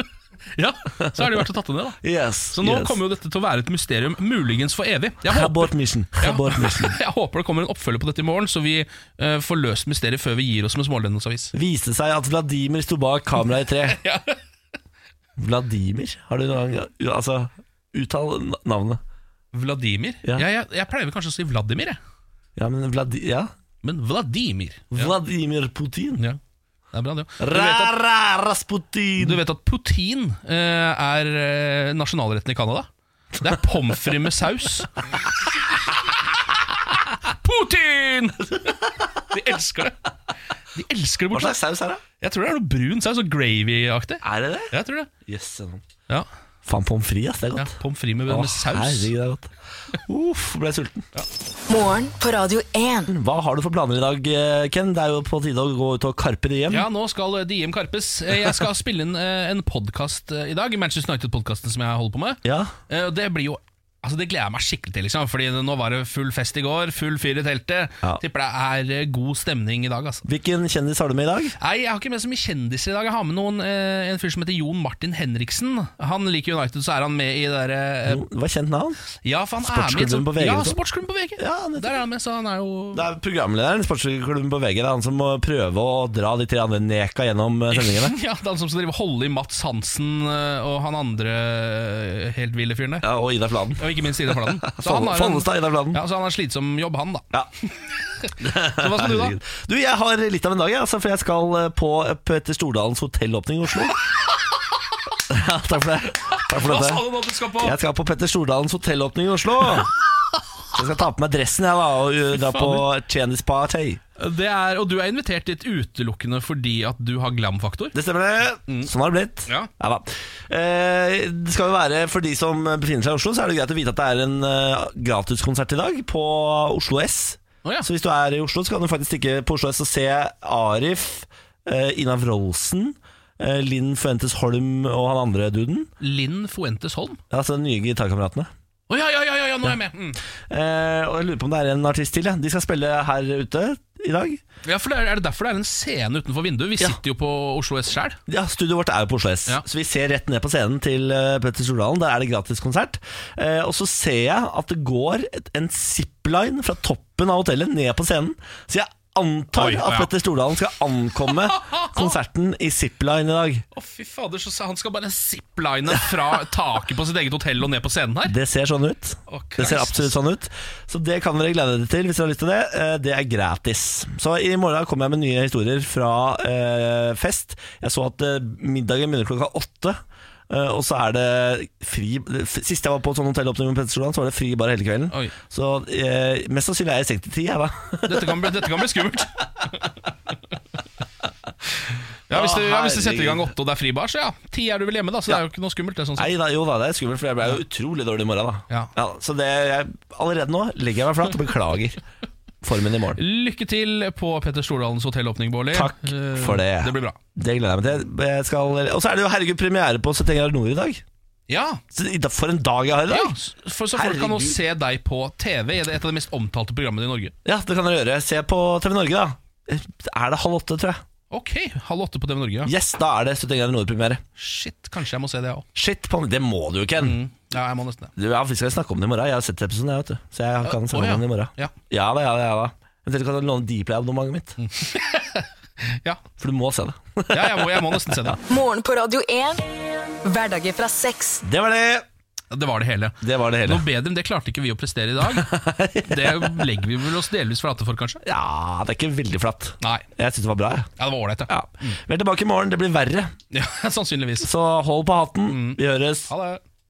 Speaker 2: ja, Så har de vært og tatt det ned, da.
Speaker 1: Yes.
Speaker 2: Så nå
Speaker 1: yes.
Speaker 2: kommer jo dette til å være et mysterium, muligens for evig. Jeg håper,
Speaker 1: Abort mission. Abort mission.
Speaker 2: jeg håper det kommer en oppfølger på dette i morgen, så vi eh, får løst mysteriet før vi gir oss med Smålendensavis.
Speaker 1: Viste seg at Vladimir sto bak kameraet i tre.
Speaker 2: Ja.
Speaker 1: Vladimir? Har du noen gang Altså, uttal na- navnet.
Speaker 2: Vladimir?
Speaker 1: Ja.
Speaker 2: Ja, jeg, jeg pleier vel kanskje å si Vladimir, jeg.
Speaker 1: Ja, men Vladi... Ja.
Speaker 2: Men Vladimir
Speaker 1: Vladimir Putin.
Speaker 2: Ja, det er bra det jo. Du vet at,
Speaker 1: Ra-ra, Rasputin!
Speaker 2: du vet at poutine eh, er eh, nasjonalretten i Canada? Det er pommes frites med saus. Putin! De elsker det. De elsker det
Speaker 1: Hva
Speaker 2: borte.
Speaker 1: slags saus er det?
Speaker 2: Jeg tror det er noe brun saus og gravy-aktig.
Speaker 1: Er det det?
Speaker 2: Jeg tror det.
Speaker 1: Yes, sånn.
Speaker 2: Ja,
Speaker 1: Faen, pommes frites, ass. Det er
Speaker 2: ja
Speaker 1: godt.
Speaker 2: Pommes frites med,
Speaker 1: Å,
Speaker 2: med saus.
Speaker 1: herregud, det er godt. Uff, ble jeg sulten.
Speaker 5: Morgen på Radio 1.
Speaker 1: Hva har du for planer i dag, eh, Ken? Det er jo på tide å gå ut og karpe det hjem.
Speaker 2: Ja, nå skal eh, Diem Karpes. Eh, Jeg skal spille inn eh, en podkast i dag. Manchester United-podkasten som jeg holder på med.
Speaker 1: Ja.
Speaker 2: Eh, Og det blir jo Altså Det gleder jeg meg skikkelig til. liksom Fordi Nå var det full fest i går, full fyr i teltet.
Speaker 1: Ja.
Speaker 2: Tipper det er eh, god stemning i dag. altså
Speaker 1: Hvilken kjendis har du med i dag?
Speaker 2: Nei, Jeg har ikke med så mye kjendiser i dag. Jeg har med noen eh, en fyr som heter Jon Martin Henriksen. Han liker United, så er han med i det derre eh,
Speaker 1: Jo, Det var kjent navn.
Speaker 2: Ja, for han er med i et
Speaker 1: Sportsklubben
Speaker 2: sånt-
Speaker 1: på VG,
Speaker 2: Ja,
Speaker 1: liksom.
Speaker 2: sportsklubben på VG.
Speaker 1: Ja, nettopp.
Speaker 2: Der er han med, så han er jo
Speaker 1: Det er programlederen i sportsklubben på VG. Det er han som må prøve å dra de tre andre neka gjennom eh, sendingene.
Speaker 2: ja, det er han som skal drive og holde i Mats Hansen eh, og han andre eh, helt ville fyren der.
Speaker 1: Ja, og Ida Fladen.
Speaker 2: Og ikke minst Ida Fladen. Så han har en-
Speaker 1: Fannestad, Ida Fladen.
Speaker 2: Ja, så han har slitsom jobb, han, da.
Speaker 1: Ja.
Speaker 2: Så hva skal du, da?
Speaker 1: Herregud. Du, jeg har litt av en dag, jeg, altså, for jeg skal eh, på Petter Stordalens hotellåpning i Oslo. ja, takk for det. Takk for
Speaker 2: Hva
Speaker 1: dette.
Speaker 2: sa du nå at du skal på?
Speaker 1: Jeg skal på Petter Stordalens hotellåpning i Oslo. Så jeg skal ta på meg dressen jeg da og uh, dra på kjendisparty.
Speaker 2: Det er, og du er invitert dit utelukkende fordi at du har glam-faktor?
Speaker 1: Det stemmer, det. Sånn har det blitt.
Speaker 2: Mm. Ja.
Speaker 1: da. Eh, det skal jo være For de som befinner seg i Oslo, så er det greit å vite at det er en eh, gratiskonsert i dag på Oslo S.
Speaker 2: Å ja.
Speaker 1: Så hvis du er i Oslo, så kan du faktisk stikke på Oslo S og se Arif, eh, Ina Wroldsen, eh, Linn Fuentes Holm og han andre duden.
Speaker 2: Linn Fuentes Holm?
Speaker 1: Ja, Altså de nye gitarkameratene.
Speaker 2: Å ja, ja, ja, ja, ja, nå er jeg med! Mm.
Speaker 1: Eh, og jeg lurer på om det er en artist til. Ja. De skal spille her ute i dag.
Speaker 2: Ja, for det er, er det derfor det er en scene utenfor vinduet? Vi
Speaker 1: Ja.
Speaker 2: sitter jo på Oslo S sjæl.
Speaker 1: Ja, Studioet vårt er jo på Oslo S,
Speaker 2: Ja.
Speaker 1: så vi ser rett ned på scenen til eh, Petter Stordalen. Der er det gratiskonsert. Eh, og så ser jeg at det går et, en zipline fra toppen av hotellet ned på scenen. Så jeg antar
Speaker 2: Oi,
Speaker 1: at
Speaker 2: ja.
Speaker 1: Petter Stordalen skal ankomme konserten i zipline i dag.
Speaker 2: Å, fy fader, så sa- han skal bare zipline fra taket på sitt eget hotell og ned på scenen her?
Speaker 1: Det ser sånn ut.
Speaker 2: Å,
Speaker 1: Det ser
Speaker 2: Christ.
Speaker 1: absolutt sånn ut. Så det kan dere glede dere til hvis dere har lyst til det. Eh, Det er gratis. Så i morgen kommer jeg med nye historier fra eh, fest. Jeg så at eh, middagen begynner klokka åtte. eh, og så er det fri Sist jeg var på et sånt hotellåpning med Petter Stordalen, så var det fri bare hele kvelden.
Speaker 2: Oi.
Speaker 1: Så eh, mest sannsynlig er jeg i seng til ti, jeg, da.
Speaker 2: Dette kan bli, dette kan bli skummelt. Ja, hvis det, ja, hvis det setter i gang åtte og det er fri bar, så ja. Ti er du vel hjemme, da, så det er jo ikke noe skummelt. Det, sånn sett.
Speaker 1: Nei da, jo da, det er skummelt, for jeg ble jo utrolig dårlig i morgen, da.
Speaker 2: Ja.
Speaker 1: så det, jeg, allerede nå legger jeg meg flat og beklager formen i morgen.
Speaker 2: Lykke til på Petter Stordalens hotellåpning, Bårli.
Speaker 1: Takk
Speaker 2: Eh,
Speaker 1: for det.
Speaker 2: Det blir bra.
Speaker 1: Det gleder jeg meg til. Jeg skal, og så er det jo herregud premiere på 71 grader nord i dag.
Speaker 2: Ja.
Speaker 1: Så, i- for en dag jeg har i dag!
Speaker 2: Ja, for Så folk kan nå se deg på TV i et av de mest omtalte programmene i Norge.
Speaker 1: Ja, det kan dere gjøre. Se på TV Norge, da. Er det halv åtte, tror jeg.
Speaker 2: Ok, halv åtte på TV Norge. Ja.
Speaker 1: Yes, da er det 71 grader nord-premiere.
Speaker 2: Shit, kanskje jeg må se det òg.
Speaker 1: Shit, på, det må du jo, Ken.
Speaker 2: Mm. Ja, jeg må nesten det.
Speaker 1: Du, ja, vi skal snakke om det i morgen. Jeg har sett episoden, jeg, vet du. Så jeg kan snakke
Speaker 2: Å, ja.
Speaker 1: om den i morgen.
Speaker 2: Ja.
Speaker 1: Ja da, ja da. ja da Eventuelt kan du låne Dplay-abonnementet mitt.
Speaker 2: Mm. Ja.
Speaker 1: For du må se det.
Speaker 2: Ja, jeg må, jeg må nesten se det.
Speaker 5: Morgen på Radio 1. Hverdager fra seks.
Speaker 1: Det var det!
Speaker 2: Det var det hele.
Speaker 1: Det var det hele.
Speaker 2: Noe bedre enn det klarte ikke vi å prestere i dag. Det legger vi vel oss delvis flate for, kanskje.
Speaker 1: Ja, det er ikke veldig flatt.
Speaker 2: Nei.
Speaker 1: Jeg syns det var bra, jeg.
Speaker 2: Ja, det var ålreit, ja.
Speaker 1: Ja. Vi er tilbake i morgen. Det blir verre.
Speaker 2: ja. Sannsynligvis.
Speaker 1: Så hold på hatten. Vi høres.
Speaker 2: Ha det.